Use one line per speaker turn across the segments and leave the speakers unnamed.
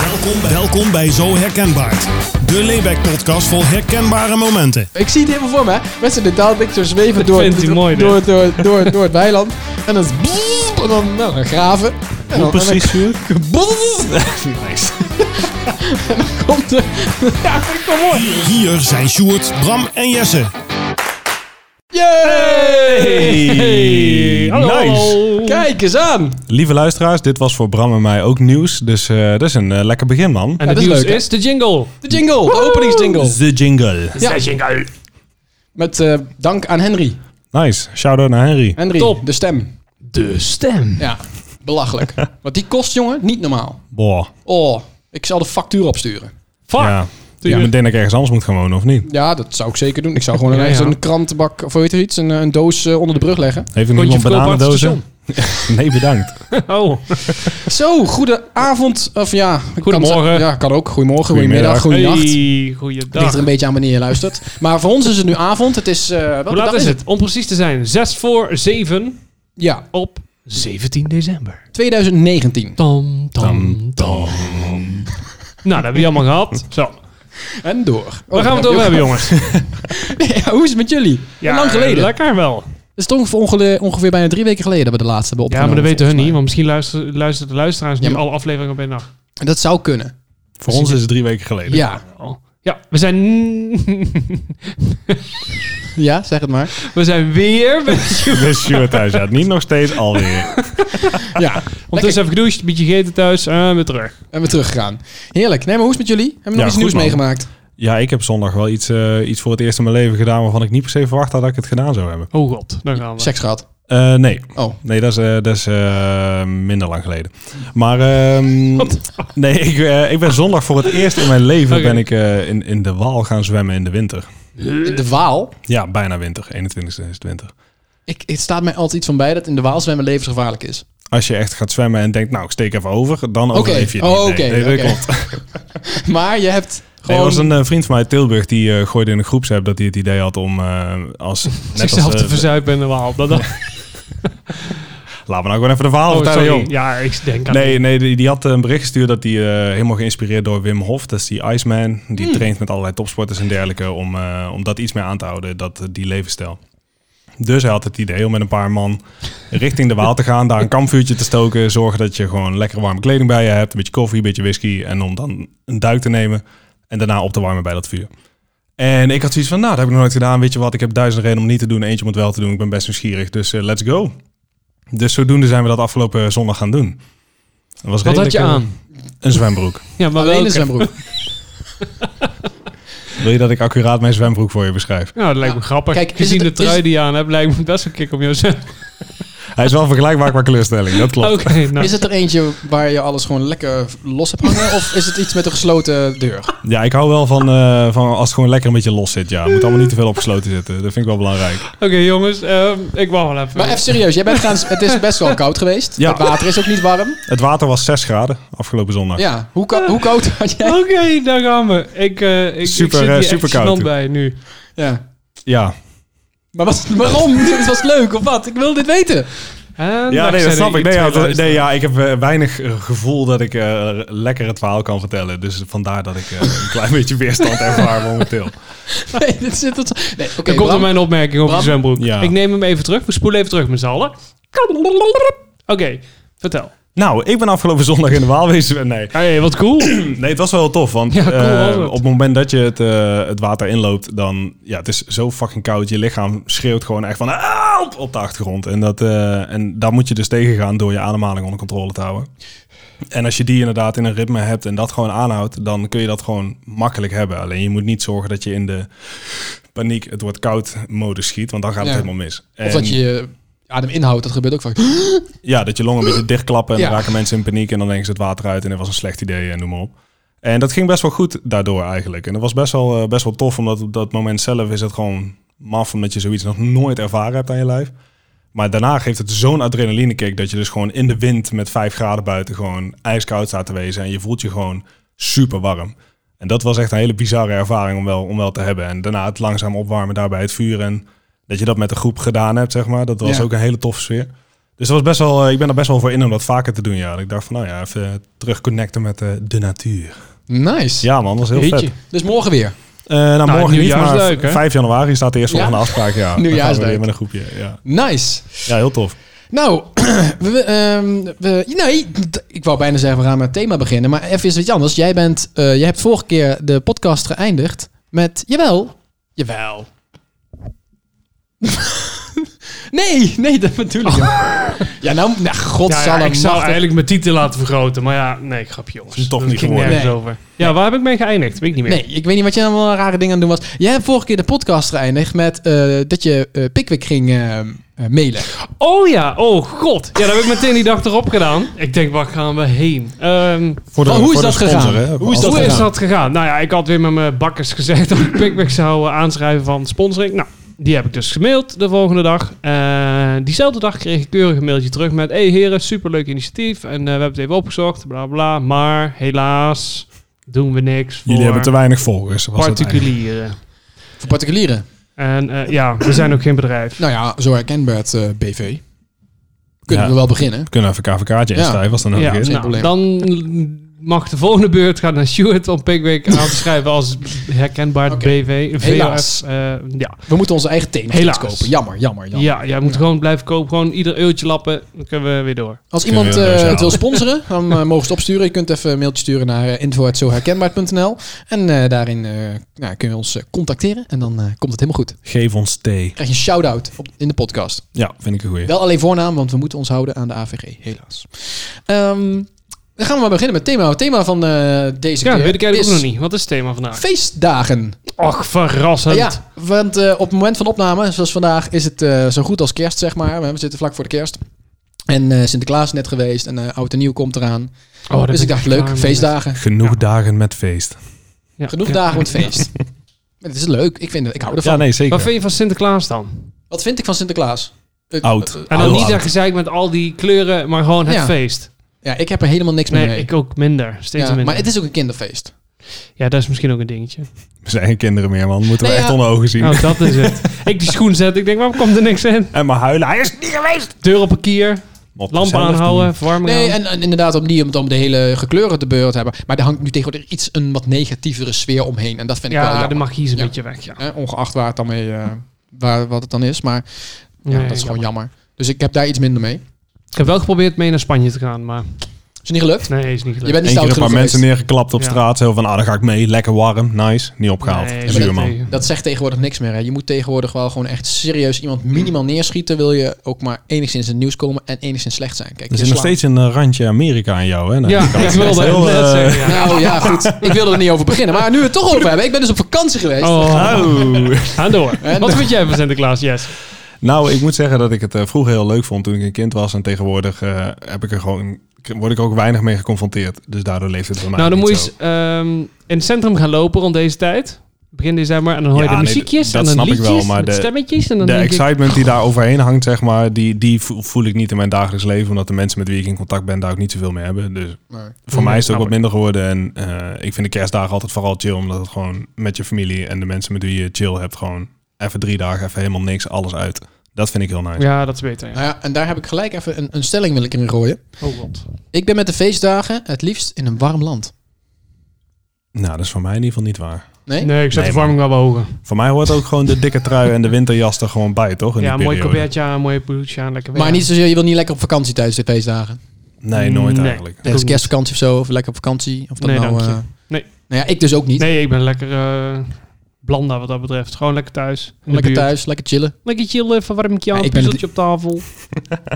Welkom bij, welkom bij Zo Herkenbaar. De Layback-podcast vol herkenbare momenten.
Ik zie het helemaal voor me. hè. Mensen in de daaldik zo zweven door,
vindt hij
door,
mooi,
door, door, door, door het weiland. En dan, is en dan, nou, dan graven. En dan,
Precies, vuur.
En dan, en dan komt de... Ja, kom op.
Hier zijn Sjoerd, Bram en Jesse.
Yay!
Hey, nice.
Kijk eens aan.
Lieve luisteraars, dit was voor Bram en mij ook nieuws. Dus eh, dat is een eh, lekker begin, man.
En
Ja,
het
dat is
nieuws
leuk, hè?
is de jingle.
De jingle, de openingsjingle.
The jingle.
Ja. Met eh, dank aan Henry.
Nice. Shout-out naar Henry.
Henry,
Top.
de stem.
De stem.
Ja, belachelijk. Wat die kost, jongen, niet normaal.
Boah.
Oh, ik zal de factuur opsturen.
Fuck.
Ja. Ik denk dat ik ergens anders moet gaan wonen, of niet?
Ja, dat zou ik zeker doen. Ik zou gewoon
Ja,
ergens
ja.
een krantenbak of weet je iets, een, een doos eh, onder de brug leggen.
Heeft er
Kon
nog
je
iemand
verkopen aan het
bananendozen? nee, bedankt.
Oh,
Zo, goedenavond. Of ja, ik
Goedemorgen.
Kan, ja, kan ook. Goedemorgen, goedemiddag,
hey,
goeienacht. Het Ligt
goeiedag.
er een beetje aan wanneer je luistert. Maar voor ons is het nu avond. Het is. eh welke
Hoe laat
dag
is het? Om precies te zijn, 6 voor 7
Ja,
op 17 december.
2019.
Tam,
Tam, tam.
Nou, dat hebben we allemaal gehad. Zo,
Oh, En door.
waar gaan we het over hebben, jongens?
jongen? hoe is het met jullie? lang geleden. Het
Lekker wel.
is toch ongeveer, ongeveer- ongeveer bijna drie weken geleden dat we de laatste hebben
Ja,
opgenomen.
maar dat weten hun
volgens
niet, want misschien luisteren, luisteren de luisteraars
Ja,
nu
maar-
alle afleveringen op één dag.
mij. Dat zou kunnen.
Voor ons is het drie weken geleden.
Ja.
Oh. Ja, we zijn,
ja, zeg het maar.
we zijn weer.
Dus Sjoerd thuis uit. Niet nog steeds alweer.
Ja,
Ondertussen even gedoucht, een beetje gegeten thuis en weer terug.
en we teruggegaan. Heerlijk. Nee, maar hoe is het met jullie? Hebben we nog
Ja,
iets
goed,
nieuws
man.
meegemaakt?
Ja, ik heb zondag wel iets, eh, iets voor het eerst in mijn leven gedaan... waarvan ik niet per se verwacht had dat ik het gedaan zou hebben.
Oh god, dan gaan we.
Seks gehad.
Eh, nee.
Oh.
Nee, dat is, eh, dat is eh, minder lang geleden. Maar ehm, nee, ik, eh, ik ben zondag voor het eerst in mijn leven
Oké.
ben ik, eh, in, in de Waal gaan zwemmen in de winter.
In de Waal.
Ja, bijna winter. 21 is het winter.
Ik, het staat mij altijd iets van bij dat in de Waal zwemmen levensgevaarlijk is.
Als je echt gaat zwemmen en denkt, nou, ik steek even over, dan overleef je het
Oh,
niet. Nee,
oké,
nee, dat
oké.
klopt. Nee,
Maar je hebt gewoon...
er was een eh, vriend van mij uit Tilburg, die eh, gooide in een groepsapp dat hij het idee had om eh, als... net als,
Zichzelf te
eh,
verzuipen in de waal. Dat, dat,
Laten we nou gewoon even de verhaal
oh,
vertellen,
sorry.
joh.
Ja, ik denk aan
Nee, nee, die, die had een bericht gestuurd dat hij eh, helemaal geïnspireerd door Wim Hof, dat is die Iceman, die traint met allerlei topsporters en dergelijke om, eh, om dat iets meer aan te houden, dat, eh, die levensstijl. Dus hij had het idee om met een paar man richting de Waal te gaan, daar een kampvuurtje te stoken, zorgen dat je gewoon lekker warme kleding bij je hebt, een beetje koffie, een beetje whisky en om dan een duik te nemen en daarna op te warmen bij dat vuur. En ik had zoiets van, nou, dat heb ik nog nooit gedaan. Weet je wat, ik heb duizend redenen om het niet te doen. Eentje om het wel te doen. Ik ben best nieuwsgierig, dus eh, let's go. Dus zodoende zijn we dat afgelopen zondag gaan doen. Dat was
Wat had
redelijk,
je
eh,
aan?
Een zwembroek.
Ja, maar
Alleen
welke?
een zwembroek.
Wil je dat ik accuraat mijn zwembroek voor je beschrijf?
Nou, dat lijkt me
Ja.
grappig.
Kijk,
Kijk,
is
Gezien
het-
de trui
is het-
die je aan hebt, lijkt me best wel kick om jou te
Hij is wel vergelijkbaar qua kleurstelling, dat klopt.
Oké, nou.
Is het er eentje waar je alles gewoon lekker los hebt hangen? of is het iets met een gesloten deur?
Ja, ik hou wel van, eh, van als het gewoon lekker een beetje los zit. Ja, het moet allemaal niet te veel opgesloten zitten. Dat vind ik wel belangrijk.
Oké, jongens, ehm, ik wacht wel even.
Maar even serieus, jij bent gaan, het is best wel koud geweest.
Ja.
Het water is ook niet warm.
Het water was 6 graden afgelopen zondag.
Ja, hoe, ko- hoe koud had jij?
Oké, daar gaan we. Ik, eh, ik- ik,
Super,
zit
eh,
hier echt
super koud.
gênant bij nu.
Ja.
ja.
Maar was, waarom? Dit was leuk of wat? Ik wil dit weten.
En
Ja,
daar
nee, dat
zijn
snap
er
ik. Nee,
twee
ja, dat- nee,
luisteraars.
ja, ik heb eh, weinig eh, gevoel dat ik eh, lekker het verhaal kan vertellen. Dus vandaar dat ik eh, een klein beetje weerstand ervaar momenteel.
Nee, dit zit tot... Nee, oké.
Er komt
Bram.
op mijn opmerking over
Bram?
de zwembroek.
Ja.
Ik neem hem even terug. We spoelen even terug met z'n allen. Oké, vertel.
Nou, ik ben afgelopen zondag in de Waalwezen. Nee,
Hey, wat cool.
nee het was wel tof. Want
Ja, cool
eh,
was het.
op het moment dat je het, eh, het water inloopt, dan... Ja, het is zo fucking koud. Je lichaam schreeuwt gewoon echt van... Help! Op de achtergrond. En, dat, eh, en daar moet je dus tegen gaan door je ademhaling onder controle te houden. En als je die inderdaad in een ritme hebt en dat gewoon aanhoudt, dan kun je dat gewoon makkelijk hebben. Alleen je moet niet zorgen dat je in de paniek, het wordt koud mode schiet, want dan gaat het
Ja.
helemaal mis.
Of
En-
dat je je adem inhoudt, dat gebeurt ook vaak.
ja, dat je longen een beetje dichtklappen en
Ja.
dan raken mensen in paniek en dan denken ze het water uit en dat was een slecht idee en noem maar op. En dat ging best wel goed daardoor eigenlijk. En dat was best wel, eh, best wel tof, omdat op dat moment zelf is het gewoon maf, omdat je zoiets nog nooit ervaren hebt aan je lijf. Maar daarna geeft het zo'n adrenalinekick dat je dus gewoon in de wind met 5 graden buiten gewoon ijskoud staat te wezen en je voelt je gewoon super warm. En dat was echt een hele bizarre ervaring om wel, om wel te hebben. En daarna het langzaam opwarmen daar bij het vuur en dat je dat met de groep gedaan hebt, zeg maar. Dat was
Ja.
ook een hele toffe sfeer. Dus dat was best wel, eh, ik ben er best wel voor in om dat vaker te doen. Ja. Dat Ik dacht van nou ja, even eh, terugconnecten met eh, de natuur.
Nice.
Ja man, dat was heel
Jeetje.
vet.
Dus morgen weer.
Eh nou,
Nou,
morgen niet, maar
nieuwjaarsduik, hè?
5 januari staat de eerste volgende afspraak. Ja, Dan gaan we
Nieuwjaarsduik.
weer met een groepje. Ja,
Nice.
ja heel tof.
Nou, we, ehm, we- nee, d- ik wou bijna zeggen we gaan met het thema beginnen. Maar even eens wat anders. Jij, bent, eh, jij hebt vorige keer de podcast geëindigd met... Jawel. Jawel. nee, nee, dat bedoel ik niet. Ja, nou, nou
Ja, ja,
godsalam.
ik zou eigenlijk mijn titel laten vergroten, maar ja, nee, grapje jongens.
Toch niet
Dat ging
geworden.
nergens
Nee.
over. Ja, waar heb ik mee geëindigd? Weet ik niet meer.
Nee, ik weet niet wat je allemaal rare dingen aan het doen was. Jij hebt vorige keer de podcast geëindigd met eh, dat je eh Pickwick ging eh, eh, mailen.
Oh ja, oh god. Ja, dat heb ik meteen die dag erop gedaan. Ik denk, waar gaan we heen? Ehm,
Voor
Maar hoe is dat gegaan?
hè?
Hoe is
Als-
dat
hoe is
gegaan?
dat gegaan? Nou ja, ik had weer met mijn bakkers gezegd dat ik Pickwick zou eh, aanschrijven van sponsoring. Nou, die heb ik dus gemaild de volgende dag. Eh, diezelfde dag kreeg ik keurig een mailtje terug met... hey heren, superleuk initiatief en eh, we hebben het even opgezocht, bla bla. Maar helaas doen we niks voor
Jullie hebben te weinig volgers. Was dat eigenlijk.
particulieren.
Voor particulieren.
En eh, ja, we zijn ook geen bedrijf.
Nou ja, zo herkenbaar het eh, BV. Kunnen
Ja.
we wel beginnen.
We kunnen even KVK'tje
Ja.
inschrijven als dat nodig
Ja,
is.
geen
nou,
probleem.
dan mag de volgende beurt gaan naar Stuart om Pickwick aan te schrijven als herkenbaar
Oké.
BV. VOF,
Helaas.
eh, ja.
We moeten onze eigen thee nog steeds
Helaas.
kopen. Jammer, jammer, jammer.
ja, jij moet gewoon blijven kopen. Gewoon ieder eurtje lappen. Dan kunnen we weer door.
Als
Kunnen
iemand
we
eh,
weer
het wil
neuzen
sponsoren, dan eh, mogen ze het opsturen. Je kunt even een mailtje sturen naar eh, info@zoherkenbaar.nl En eh, daarin eh nou, kun je ons eh, contacteren. En dan eh, komt het helemaal goed.
Geef ons thee.
krijg je een shout-out op- in de podcast.
Ja, vind ik een goeie.
Wel alleen voornaam, want we moeten ons houden aan de AVG, helaas. Ehm, dan gaan we maar beginnen met het thema. Het thema van eh, deze
Ja,
keer
weet ik eigenlijk
is
ook nog niet. Wat is het thema vandaag?
feestdagen.
Och, verrassend.
Ah,
Oh,
Ja, want eh, op het moment van opname, zoals vandaag, is het eh, zo goed als kerst, zeg maar. We zitten vlak voor de kerst. En eh, Sinterklaas is net geweest en eh, Oud en Nieuw komt eraan.
Oh, daar ben
dus ik
ik
dacht,
echt
leuk,
klaar mee.
feestdagen.
Genoeg dagen met feest.
Ja.
Genoeg
Ja.
dagen met feest. Maar Het is leuk, ik, vind het, ik hou ervan.
Ja, nee, zeker.
Wat vind je van Sinterklaas dan?
Wat vind ik van Sinterklaas? Ik-
Oud.
eh,
En
Heel
dan niet
oud.
dat gezeik met al die kleuren, maar gewoon het
Ja.
feest.
Ja, ik heb er helemaal niks
Nee,
meer mee.
ik ook minder. Steeds
ja,
minder.
maar het is ook een kinderfeest.
Ja, dat is misschien ook een dingetje.
We zijn geen kinderen meer, man. Moeten we
Nee,
echt
ja.
onder ogen zien.
Nou, dat is het. ik die schoen zet, ik denk, waarom komt er niks in?
En maar huilen. Hij is niet geweest.
Deur op een kier,
Mop
lamp
zelf
aanhouden,
doen.
verwarming
Nee,
aan.
en, en inderdaad om die om dan de hele gekleuren te beurt hebben. Maar er hangt nu tegenwoordig iets een wat negatievere sfeer omheen. En dat vind ik wel
Ja,
jammer.
de magie is een
Ja.
beetje weg. Ja.
Hè, ongeacht waar het dan mee, eh, waar, wat het dan is. Maar ja,
Nee,
dat is gewoon jammer. Dus ik heb daar iets minder mee.
Ik heb wel geprobeerd mee naar Spanje te gaan, maar
Is het niet gelukt?
nee, is niet
Je
gelukt.
bent niet
Eén keer
stout
een paar
genoeg
mensen
geweest.
neergeklapt op
Ja.
straat. Zo van, ah, dan ga ik mee. Lekker warm. Nice. Niet opgehaald.
Nee,
Zuur,
dat-
man.
tegen.
Dat zegt tegenwoordig niks meer. Hè. Je moet tegenwoordig wel gewoon echt serieus iemand minimaal neerschieten. Wil je ook maar enigszins in het nieuws komen en enigszins slecht zijn. Kijk,
Er
je
zit nog
slaan-
steeds een eh, randje Amerika aan jou, hè? Nou,
Ja,
die kant.
ik wilde
Heel,
het net
eh,
zeggen. ja.
Nou ja, goed. Ik wilde er niet over beginnen. Maar nu we het toch over hebben. Ik ben dus op vakantie geweest.
Oh,
Au.
ga door.
En-
Wat vind jij van Sinterklaas, Jess?
Nou, ik moet zeggen dat ik het eh, vroeger heel leuk vond toen ik een kind was. En tegenwoordig eh, heb ik er gewoon, word ik er ook weinig mee geconfronteerd. Dus daardoor leeft het bij mij
Nou, dan
niet
moet je
zo.
eens, ehm, in het centrum gaan lopen rond deze tijd. Begin december. En dan hoor je
Ja,
de
nee,
muziekjes.
dat
en dan
snap ik
liedjes,
wel, maar
met
de-
stemmetjes. En dan
de
denk ik, Oh.
excitement die daar overheen hangt, zeg maar, die, die vo- voel ik niet in mijn dagelijks leven. Omdat de mensen met wie ik in contact ben daar ook niet zoveel mee hebben. Dus
Nee.
voor mij is het ook
snap
wat minder geworden. En eh, ik vind de kerstdagen altijd vooral chill. Omdat het gewoon met je familie en de mensen met wie je chill hebt, gewoon even drie dagen, even helemaal niks, alles uit. Dat vind ik heel nice.
ja, dat is beter. Ja.
Nou ja, en daar heb ik gelijk even een, een stelling wil ik erin gooien.
Oh god.
Ik ben met de feestdagen het liefst in een warm land.
Nou, dat is voor mij in ieder geval niet waar.
Nee?
Nee, ik zet
Nee,
de verwarming wel wat hoger.
Voor mij hoort ook gewoon de dikke trui en de winterjas er gewoon bij, toch? In
Ja,
die
mooi
periode.
kobertje aan, mooie bloedje aan, lekker weer.
Maar niet zozeer, je wil niet lekker op vakantie tijdens de feestdagen.
Nee, nooit
Nee.
eigenlijk.
Doe ik
Tijdens
niet.
kerstvakantie of zo, of lekker op vakantie. Of dat
Nee,
nou,
dank je.
eh,
Nee.
Nou ja, ik dus ook niet.
Nee, ik ben lekker eh, blanda wat dat betreft. Gewoon lekker thuis. in de
lekker
buurt.
thuis, lekker chillen.
Lekker chillen, even warmtje
Ja,
aan,
ik
een
ben het-
puzzeltje op tafel.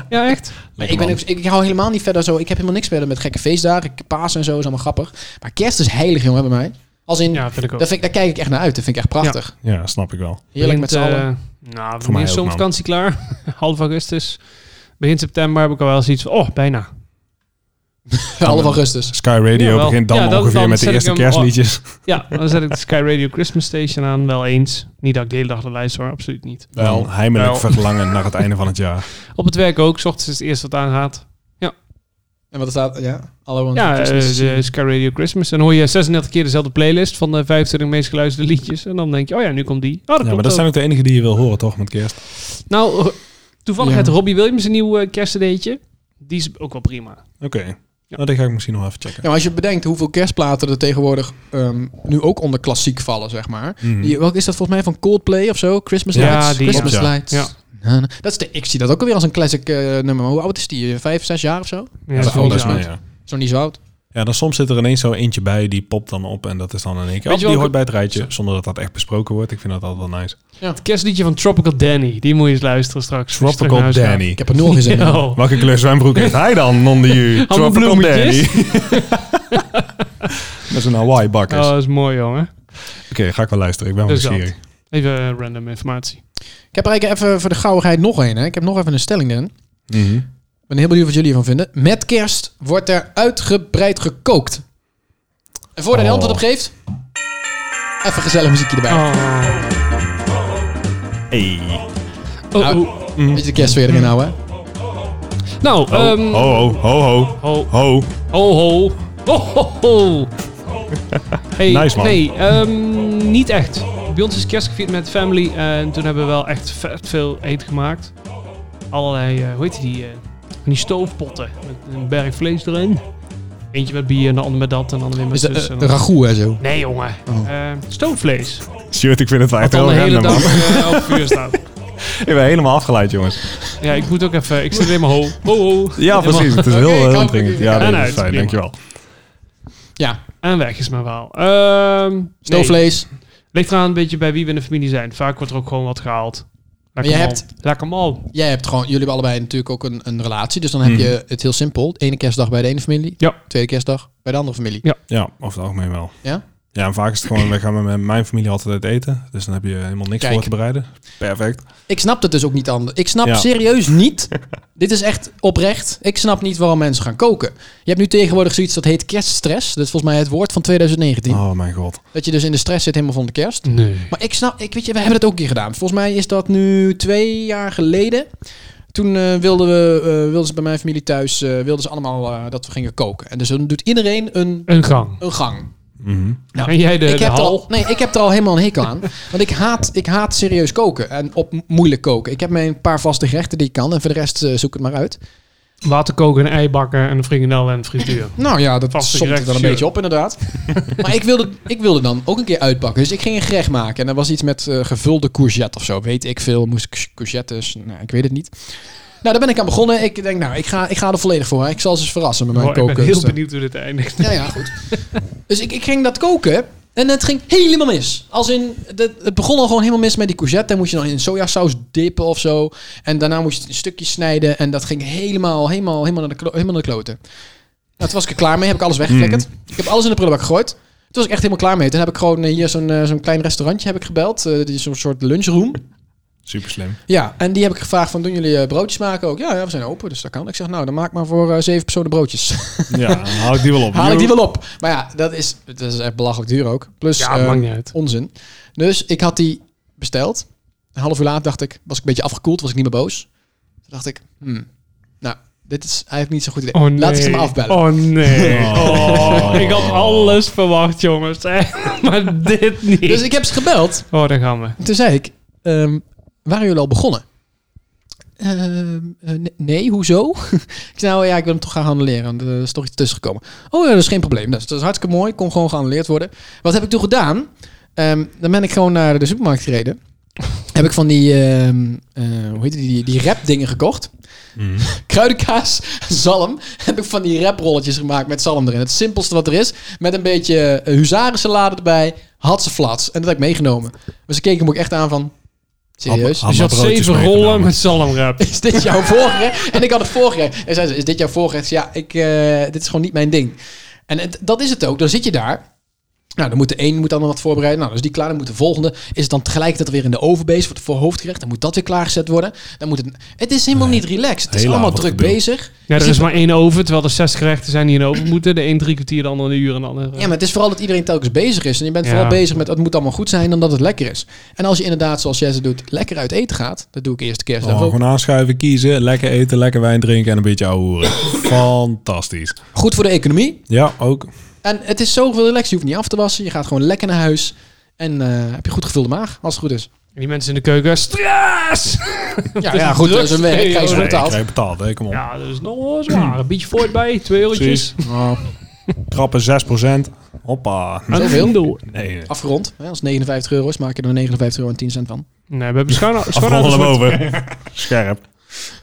ja, echt?
Maar ik, ben, ook- ik, ik hou helemaal niet verder zo. Ik heb helemaal niks verder met gekke feestdagen. Ik- Paas en zo is allemaal grappig. Maar kerst is heilig, jongen, bij mij. Als in,
Ja, vind ik ook.
daar, vind ik, daar kijk ik echt naar uit. Dat vind ik echt prachtig.
Ja, snap ik wel.
Heerlijk met z'n
Begint,
allen.
eh, nou, voor
Voor mij
mij is
ook,
zo'n
man.
vakantie klaar. Half augustus. Begin september heb ik al wel zoiets van, oh, bijna. eh,
Half augustus.
Sky Radio
Jawel.
begint dan
Ja, dan-
ongeveer
dan
met de
zet ik
eerste
hem-
kerstliedjes.
Ja, dan zet ik de Sky Radio Christmas Station aan, wel eens. Niet dat ik de hele dag de lijst hoor, absoluut niet.
Wel, heimelijk
Wel.
verlangen naar het einde van het jaar.
Op het werk ook, 's ochtends is het eerste wat aangaat.
En wat staat, ja? Hallo,
Ja, eh,
Christmas.
de Sky Radio Christmas. En dan hoor je 36 keer dezelfde playlist van de 25 meest geluisterde liedjes. En dan denk je, oh ja, nu komt die. Oh, dat
Ja,
klopt
maar dat
ook.
zijn ook de enige die je wil horen, toch, met kerst?
Nou, Toevallig
Ja.
had Robbie Williams een nieuw eh, kerstcadeautje. Die is ook wel prima.
Oké. Nou, die ga ik misschien nog even checken.
Ja, maar als je bedenkt hoeveel kerstplaten er tegenwoordig ehm, nu ook onder klassiek vallen, zeg maar.
Mhm.
Die, welke is dat volgens mij van Coldplay of zo? Christmas
Hmm. Ja,
Lights.
die,
Christmas
ja.
Lights.
Ja.
Na, na. Dat is de, ik zie dat ook alweer als een classic eh, nummer. Hoe oud is die? Vijf, zes jaar of zo?
Ja,
Ja,
dat is
dat
wel
alles
niet zo
mee,
oud.
ja.
Zo niet zo oud.
ja, dan soms zit er ineens zo eentje bij, die popt dan op en dat is dan in één keer.
Weet
Oh,
je
die
welke-
hoort bij het rijtje, zonder dat dat echt besproken wordt. Ik vind dat altijd wel nice.
Het kerstliedje van Tropical Danny. Die moet je eens luisteren straks. als je terug
Tropical
naar huis
Danny.
Ik heb er nul gezin
gaat.
in.
Oh.
Welke kleur zwembroek heeft hij dan onder you?
Allemaal
Tropical Danny.
bloemetjes.
dat is een Hawaii bakkers.
Oh, dat is mooi, jongen.
Oké, ga ik wel luisteren. Ik ben wel
Dus dat.
nieuwsgierig.
Even eh, random informatie.
Ik heb er eigenlijk even voor de gauwigheid nog een. Hè. Ik heb nog even een stelling erin.
Mhm.
Ik ben heel benieuwd wat jullie ervan vinden. Met kerst wordt er uitgebreid gekookt. En voordat je
Oh.
antwoord op geeft, even gezellig muziekje erbij.
Oh.
Hey.
Oh,
Nou,
oh.
Beetje de kerstsfeer erin houden. hè.
Nou,
Ho,
ehm,
Oh, ho, ho, ho,
ho.
ho.
Oh ho. Oh ho ho. Hey,
Nice, man.
Nee, ehm, niet echt. Bij ons is kerst gevierd met family eh, en toen hebben we wel echt vet veel eten gemaakt. Allerlei, eh, hoe heet die, eh, van die stoofpotten met een berg vlees erin. Eentje met bier en de ander met dat en de ander weer met
Is dat
zus.
eh,
en
een
dan-
ragout en zo?
Nee jongen,
Oh.
Eh, stoofvlees.
Shoot, ik vind het wel
Wat
echt
dan
heel
de hele
random, man.
dag eh, op vuur staat.
Ik ben helemaal afgeleid, jongens.
Ja, ik moet ook even, ik zit weer in mijn ho. Ho ho.
Ja, precies. Het is
Oké,
heel,
ik
heel
hoop
dringend.
dat
Ja, nee,
jullie-
Ja,
dat
nou,
is
het is
fijn. Dankjewel.
Ja,
En weg is mijn verhaal. Ehm, nee.
stoofvlees.
Ligt eraan een beetje bij wie we in de familie zijn. Vaak wordt er ook gewoon wat gehaald. Lekker
Maar je
man. Lekker man.
Jij hebt gewoon, jullie hebben allebei natuurlijk ook een, een relatie. Dus dan heb
Mhm.
je het heel simpel. De ene kerstdag bij de ene familie.
Ja.
Tweede kerstdag bij de andere familie.
Ja.
Ja, over het algemeen wel.
Ja?
Ja, en vaak is het gewoon, we gaan met mijn familie altijd uit eten. Dus dan heb je helemaal niks
Kijk.
voor te bereiden. Perfect.
Ik snap het dus ook niet anders. Ik snap
Ja.
serieus niet. dit is echt oprecht. Ik snap niet waarom mensen gaan koken. Je hebt nu tegenwoordig zoiets dat heet kerststress. Dat is volgens mij het woord van 2019.
Oh mijn god.
Dat je dus in de stress zit helemaal van de kerst.
Nee.
Maar ik snap, ik weet je, we hebben dat ook een keer gedaan. Volgens mij is dat nu twee jaar geleden. Toen eh, wilden, we, eh, wilden ze bij mijn familie thuis, eh, wilden ze allemaal eh, dat we gingen koken. En dus dan doet iedereen een,
Een gang.
een gang.
Mhm.
Nou,
en jij de,
ik
de
heb er
hal.
al, nee, ik heb er al helemaal een hekel aan. Want ik haat, ik haat serieus koken en op m- moeilijk koken. Ik heb mijn paar vaste gerechten die ik kan en voor de rest eh, zoek het maar uit.
Water koken, een ei bakken en een frikandel en een frituur.
Nou ja, dat
Vaste
somt het wel een
gerechten,
beetje op inderdaad. maar ik wilde, ik wilde dan ook een keer uitpakken. Dus ik ging een gerecht maken en dat was iets met eh, gevulde courgette of zo. Weet ik veel, moest ik courgettes, nou, ik weet het niet. Nou, daar ben ik aan begonnen. Ik denk, nou, ik ga, ik ga er volledig voor. hè. Ik zal ze eens verrassen met mijn
Oh, ik ben heel
kookkunsten.
benieuwd hoe dit eindigt.
Ja, ja, goed. Dus ik, ik ging dat koken en het ging helemaal mis. Als in, het, het begon al gewoon helemaal mis met die courgette. Dan moest je dan in sojasaus dippen of zo. En daarna moest je het in stukjes snijden. En dat ging helemaal, helemaal, helemaal naar de, klo- helemaal naar de kloten. Nou, toen was ik er klaar mee. Heb ik alles weggeflikkerd. Ik heb alles in de prullenbak gegooid. Toen was ik echt helemaal klaar mee. Toen heb ik gewoon eh, hier zo'n eh, zo'n klein restaurantje heb ik gebeld. eh, die is zo'n soort lunchroom.
Super slim.
Ja, en die heb ik gevraagd van, doen jullie eh, broodjes maken ook? Ja, ja, we zijn open, dus dat kan. Ik zeg, nou, dan maak maar voor eh, zeven personen broodjes.
Ja, dan haal ik die wel op.
Haal ik die wel op. Maar ja, dat is, dat is echt belachelijk duur ook. Plus
Ja,
eh,
maakt niet uit.
onzin. Dus ik had die besteld. Een half uur later dacht ik, was ik een beetje afgekoeld, was ik niet meer boos. Toen dacht ik, hmm, nou, dit is eigenlijk niet zo'n goed idee.
Oh nee.
Laat ik ze maar afbellen.
Oh nee.
Oh.
Ik had alles verwacht, jongens. Echt, maar dit niet.
Dus ik heb ze gebeld.
Oh, daar gaan we.
En toen zei ik, ehm, waren jullie al begonnen? Ehm, eh, ne- nee, hoezo? ik zei, nou ja, ik wil hem toch gaan handelen. Want er is toch iets tussen gekomen. Oh ja, dat is geen probleem. Dat is, dat is hartstikke mooi. Kon gewoon geannuleerd worden. Wat heb ik toen gedaan? Ehm, dan ben ik gewoon naar de supermarkt gereden. heb ik van die, ehm, eh, hoe heet die, die, die rap dingen gekocht.
Mhm.
Kruidenkaas, zalm. Heb ik van die raprolletjes gemaakt met zalm erin. Het simpelste wat er is. Met een beetje eh, huzarensalade erbij. Had ze flats. En dat heb ik meegenomen. Maar ze keken me ook echt aan van... Serieus?
Had
Dus je
maar
had
broodjes
zeven rollen
meegenomen.
met zalmrap.
Is dit jouw voorrecht? En ik had het voorrecht. En zei ze, is dit jouw voorrecht? Ja, ik, eh, dit is gewoon niet mijn ding. En het- dat is het ook. Dan zit je daar. Nou, dan moet de een moet dan wat voorbereiden. Nou, dus die klaar. Dan moet de volgende. Is het dan tegelijkertijd weer in de oven bezig voor het voorhoofdgerecht? Dan moet dat weer klaargezet worden. Dan moet het, het is helemaal niet relaxed. Het is
Hele
allemaal
avond
druk
gedoe.
bezig.
Ja, er
Dus
is
je-
maar één oven, terwijl er zes gerechten zijn die in de oven moeten. De een drie kwartier, de ander een uur en eh, de ander...
Ja, maar het is vooral dat iedereen telkens bezig is. En je bent
Ja.
vooral bezig met het moet allemaal goed zijn dan dat het lekker is. En als je inderdaad, zoals jij ze doet, lekker uit eten gaat. Dat doe ik eerst de kerstdag
Oh,
Dus ook.
gewoon aanschuiven, kiezen, lekker eten, lekker wijn drinken en een beetje ouwe hoeren. Fantastisch.
Goed voor de economie.
Ja, ook.
En het is zoveel relaxed. Je hoeft niet af te wassen. Je gaat gewoon lekker naar huis. En eh, heb je goed gevulde maag, als het goed is.
En die mensen in de keuken, stress!
Ja,
is
ja
een
goed, dat
druk
is een werk. Krijg je
periode.
Nee,
betaald.
krijg je betaald, hè? Kom op.
Ja, dat is nog wel zwaar. Een beetje voort bij, twee eurotjes.
Precies.
Oh,
Ja. Krappe 6%. Hoppa.
En
Zoveel?
dan door.
Nee,
Oh,
nee.
Afgerond. Hè, als 59 euro is, maak je er 59 euro en 10 cent van.
Nee, we hebben schoon
Afronden hem
dus
over. Scherp.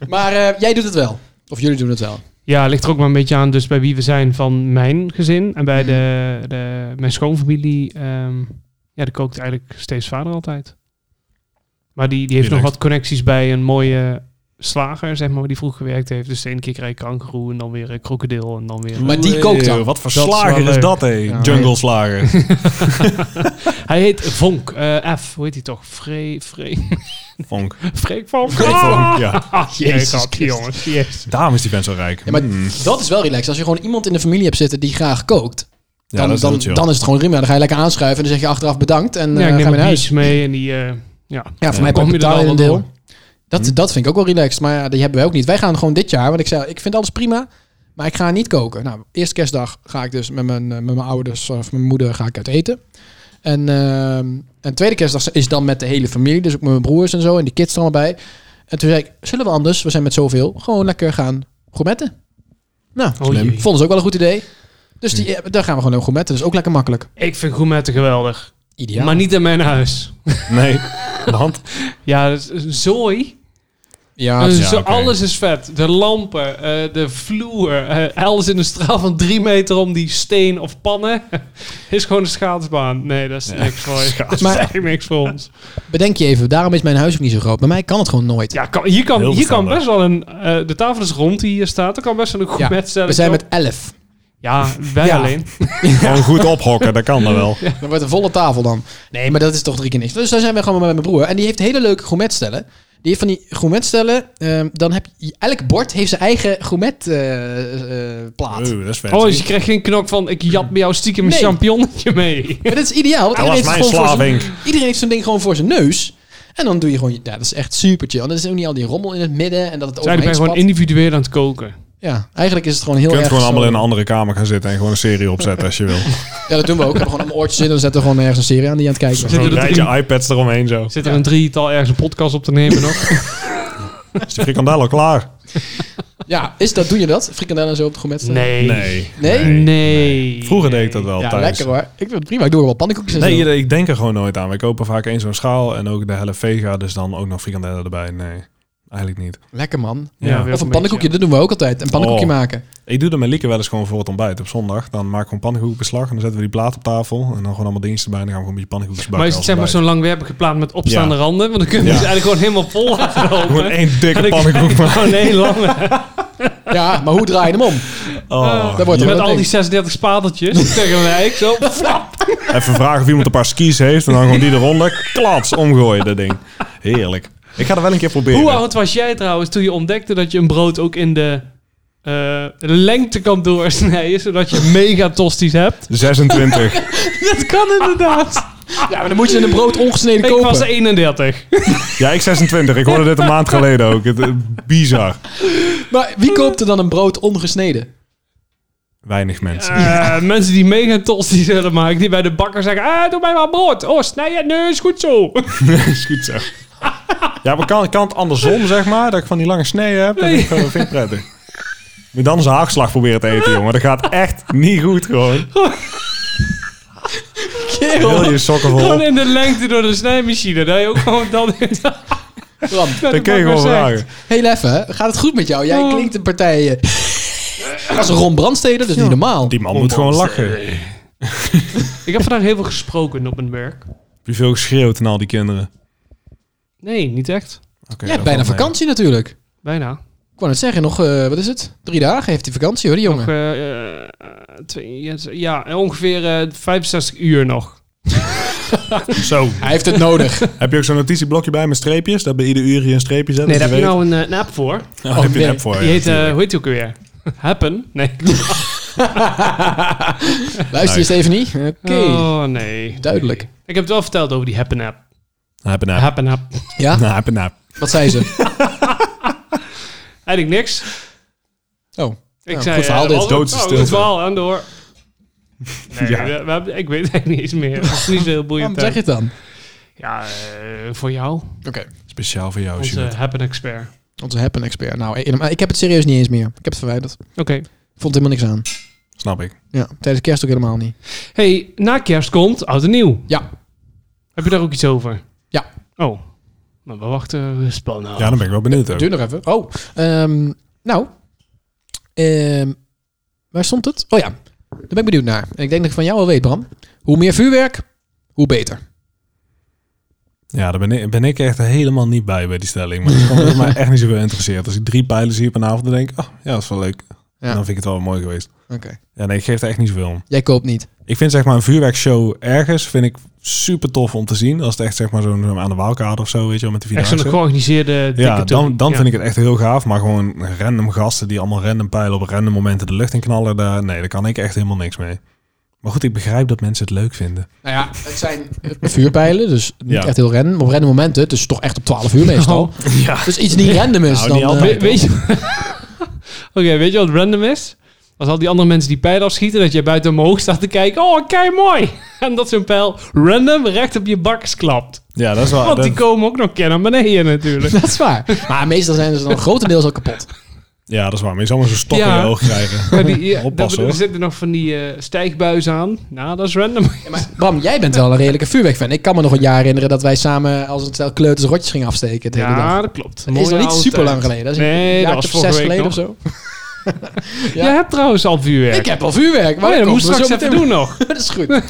Maar eh, jij doet het wel. Of jullie doen het wel.
Ja, ligt er ook maar een beetje aan dus bij wie we zijn van mijn gezin. En bij de, de, mijn schoonfamilie, ehm, ja, die kookt eigenlijk steeds vader altijd. Maar die, die heeft nog
Relaxed.
wat connecties bij een mooie slager, zeg maar, waar die vroeg gewerkt heeft. Dus de ene keer krijg ik kangeroe en dan weer eh, krokodil en dan weer...
Maar die kookt dan.
Eeuw, Wat voor
Dat is
slager
wel
is
leuk.
dat, hé?
Ja.
Jungle slager.
Hij heet Vonk, eh, F, hoe heet hij toch? Free, free,
Vonk.
Freek Vonk.
Vonk, ja.
Ah, nee,
Jezus
grapje,
Christus.
jongens. Yes.
Daarom is die vent zo rijk.
Ja, maar
Mm.
dat is wel relaxed. Als je gewoon iemand in de familie hebt zitten die graag kookt,
Ja,
dan,
dat is heel
dan,
chill.
dan is het gewoon prima. Dan ga je lekker aanschuiven en dan zeg je achteraf bedankt en eh,
ja, ik
ga je
neem
naar
een
huis.
mee en die... eh, ja,
Ja, voor mij
kom
heb
je
ik
er dan
betaald in een
wel
deel.
door. Hm.
Dat, dat vind ik ook wel relaxed, maar ja, die hebben wij ook niet. Wij gaan gewoon dit jaar, want ik zei, ik vind alles prima, maar ik ga niet koken. Nou, eerste kerstdag ga ik dus met mijn, eh, met mijn ouders of mijn moeder ga ik uit eten. En, ehm, en tweede kerstdag is dan met de hele familie, dus ook met mijn broers en zo en die kids er allemaal bij. En toen zei ik, zullen we anders, we zijn met zoveel, gewoon lekker gaan gourmetten. Nou,
Oh jee.
vonden ze ook wel een goed idee. Dus die, eh, daar gaan we gewoon gourmetten, dus ook lekker makkelijk.
Ik vind gourmetten geweldig.
Ideaal.
Maar niet in mijn huis.
Nee. Want?
Ja, dat is een zooi.
Ah, ja,
Een
ja,
zo-
oké.
Alles is vet. De lampen, eh, de vloer, eh, alles in een straal van drie meter om die steen of pannen. is gewoon een schaatsbaan. Nee, dat is niks voor je. Dat is
Maar-
echt niks voor ons.
bedenk je even, daarom is mijn huis ook niet zo groot. Bij mij kan het gewoon nooit.
Ja, kan, hier, kan,
Heel
hier kan
verstandig.
best wel een... eh, de tafel is rond die hier staat. Er kan best wel een goed
Ja,
bed
we zijn met elf.
Ja, wij
Ja.
alleen.
Gewoon goed ophokken, dat kan dan wel.
Dan wordt een volle tafel dan. Nee, maar dat is toch drie keer niks. Dus daar zijn we gewoon met mijn broer. En die heeft hele leuke gourmetstellen. Die heeft van die gourmetstellen. ehm, dan heb je, elk bord heeft zijn eigen eh, gourmetplaat.
Oeh, dat is vet.
Oh, dus je krijgt geen knok van... Ik jat bij jou stiekem een
Nee.
champignonnetje mee.
Maar dat is ideaal. Want
Hij was
iedereen, heeft
mijn
het gewoon voor zijn,
slavink.
iedereen heeft zo'n ding gewoon voor zijn neus. En dan doe je gewoon... Ja, dat is echt super chill. En dan is ook niet al die rommel in het midden. En dat het
Zij ben
overheen
gewoon
spat.
individueel aan het koken.
Ja, eigenlijk is het gewoon heel
Je kunt
erg
gewoon allemaal
zo-
in een andere kamer gaan zitten en gewoon een serie opzetten als je wil.
Ja, dat doen we ook. We hebben gewoon een oortje zitten. Dan zetten we gewoon ergens een serie aan die je aan het kijken bent.
Zitten
Zo'n
er
rijtje iPads eromheen zo.
Zit er een drietal ergens een podcast op te nemen nog?
Is de frikandel al klaar?
Ja, is dat, doe je dat? Frikandellen zo op de gourmetstellen?
Nee.
Nee?
Nee.
Vroeger deed ik dat wel
Ja,
thuis.
lekker hoor. Ik vind het prima. Ik doe er wel pannenkoekjes en
Nee,
zo.
je- ik denk er gewoon nooit aan. We kopen vaak eens zo'n schaal en ook de helft vega, dus dan ook nog frikandellen erbij. Nee, eigenlijk niet.
Lekker man.
Ja,
Ja.
weer
Of een
beetje.
pannenkoekje, dat doen we ook altijd. Een pannenkoekje
Oh.
maken.
Ik doe dat met Lieke wel eens gewoon voor het ontbijt op zondag. Dan maken we een pannenkoekbeslag en dan zetten we die plaat op tafel. En dan gewoon allemaal dingetjes erbij en dan gaan we gewoon een beetje pannenkoekjes bakken.
Maar is het
als
zeg maar
ontbijt.
zo'n langwerpige plaat met opstaande
Ja.
randen? Want dan kun je
Ja.
dus eigenlijk gewoon helemaal vol laten
Gewoon
lopen.
één dikke
En ik-
pannenkoek maken.
Gewoon een lange.
Ja, maar hoe draai je hem om?
Oh,
dat wordt
je-
hem.
Met
dat
al
ding.
die 36 spateltjes tegelijk. Zo.
Even vragen of iemand een paar skis heeft en dan gewoon die eronder. Klats, omgooien dat ding. Heerlijk. Ik ga er wel een keer proberen.
Hoe oud was jij trouwens toen je ontdekte dat je een brood ook in de eh, lengte kan doorsnijden? Zodat je mega tosties hebt.
26.
Dat kan inderdaad.
Ja, maar dan moet je een brood ongesneden
Ik
kopen.
was 31.
Ja, ik 26. Ik hoorde dit een maand geleden ook. Het, eh, bizar.
Maar wie koopt er dan een brood ongesneden?
Weinig mensen.
Eh, Mensen die mega tosties willen maken, die bij de bakker zeggen: ah, Doe mij maar brood. Oh, snij je neus, goed zo.
is goed zo. Ja, maar kan, kan het andersom, zeg maar? Dat ik van die lange sneeën heb? Dat vind ik, dat vind ik prettig. Moet dan zijn haagslag proberen te eten, jongen. Dat gaat echt niet goed, gewoon. Heel je sokken
Gewoon
vol.
in de lengte door de snijmachine. Dat je ook gewoon dan...
Bram,
Dat kun je gewoon vragen.
heel even. hè. Gaat het goed met jou? Jij
Oh.
klinkt een partij... eh, als een Ron Brandsteder, dat is niet normaal.
Die man moet gewoon lachen. Heb
Ik heb vandaag heel veel gesproken op mijn werk.
je veel geschreeuwd naar al die kinderen?
Nee, niet echt.
Oké,
Jij hebt
dat
bijna
valt mee.
vakantie natuurlijk.
Bijna.
Ik wou net zeggen, nog, eh, wat is het? Drie dagen heeft hij vakantie hoor, die jongen.
Nog, eh, eh, twee, ja, z- ja, ongeveer eh 65 uur nog.
Zo.
Hij heeft het nodig.
Heb je ook zo'n notitieblokje bij met streepjes? Dat bij ieder uur je een streepje zet?
Nee,
dat
daar heb
je
je
weet-
nou een, eh, een app voor.
Oh, heb je
nee.
een app voor.
die
ja,
heet, eh,
natuurlijk.
hoe heet die ook weer? Happen? Nee.
Luister je even niet? Oké.
Oh, nee.
Duidelijk.
Nee. Ik heb het wel verteld over die Happen app.
Heb een app.
Happen app.
Ja?
Nou, heb een app.
Wat zei ze?
Eigenlijk niks.
Oh.
Ik
Ja,
zei...
goed verhaal
eh,
dit.
Walter,
Doodse
oh, goed
stilte.
verhaal, aan door. Nee,
Ja.
we- we hebben- ik weet het eigenlijk niet eens meer. Het is niet zo heel
Waarom
boeiend.
zeg je Oh, het dan?
Ja, eh, voor jou.
Oké.
Speciaal voor jou,
Onze
Sjoerd.
happen expert.
Onze happen expert. Nou, eh, maar ik heb het serieus niet eens meer. Ik heb het verwijderd.
Oké.
Vond helemaal niks aan.
Snap ik.
Ja, tijdens kerst ook helemaal niet.
Hey, na kerst komt oud en nieuw.
Ja.
Heb je daar ook iets over?
Ja.
Oh, maar we wachten spannend.
Ja, dan ben ik wel benieuwd ook.
Duur nog even. Oh, ehm, nou. Ehm, waar stond het? Oh ja, daar ben ik benieuwd naar. En ik denk dat ik van jou wel weet, Bram. Hoe meer vuurwerk, hoe beter.
Ja, daar ben ik, ben ik echt helemaal niet bij bij die stelling. Maar het kan me maar echt niet zoveel interesseert. Als ik drie pijlen zie op een avond, dan denk ik, oh, ja, dat is wel leuk.
Ja.
En dan vind ik het wel mooi geweest.
Oké.
Ja, nee, ik geef er echt niet zoveel om.
Jij koopt niet.
Ik vind zeg maar een vuurwerkshow ergens vind ik super tof om te zien. Als het echt zeg maar zo'n zo'n aan de waalkade of zo, weet je wel, met de
Echt zo'n
vierdaagse.
georganiseerde dikke
Ja, dan, dan
toppie.
vind ik het echt heel gaaf. Maar gewoon random gasten die allemaal random pijlen op random momenten de lucht in knallen. Daar, nee, daar kan ik echt helemaal niks mee. Maar goed, ik begrijp dat mensen het leuk vinden.
Nou ja, het zijn vuurpijlen, dus niet
Ja.
echt heel random. Op random momenten, dus toch echt op 12 uur
Oh.
meestal.
Ja.
Dus iets niet random is
Nou, niet
dan... eh,
We-
altijd.
weet je... Oké, weet je wat random is? Als al die andere mensen die pijlen afschieten, dat je buiten omhoog staat te kijken. Oh, kijk mooi! En dat zo'n pijl random recht op je bakkers klapt.
Ja, dat is
Ah,
wel...
Want die
Dat,
komen ook nog kennen naar beneden natuurlijk.
dat is waar. Maar meestal zijn ze dan grotendeels al kapot.
ja, dat is waar. Maar je zal maar zo'n stok
Ja.
in je oog krijgen.
Maar die, ja,
Oppassen,
daar- er
hoor.
zitten nog van die eh, stijgbuizen aan. Nou, dat is random.
Bram, jij bent wel een redelijke vuurwerkfan. Ik kan me nog een jaar herinneren dat wij samen als een stel kleuters rotjes gingen afsteken. De hele dag.
Ja, dat klopt.
Dat is
Mooie
nog niet
oude
super
tijd.
lang geleden. Dat is
Nee,
een
dat
jaar
was
of
vorige
zes
week
geleden
nog.
of zo. Ja.
Jij hebt trouwens al vuurwerk.
Ik heb al vuurwerk, maar
Maar dat
komt
moest
er
straks
zo
even
meteen.
doen nog.
dat is goed.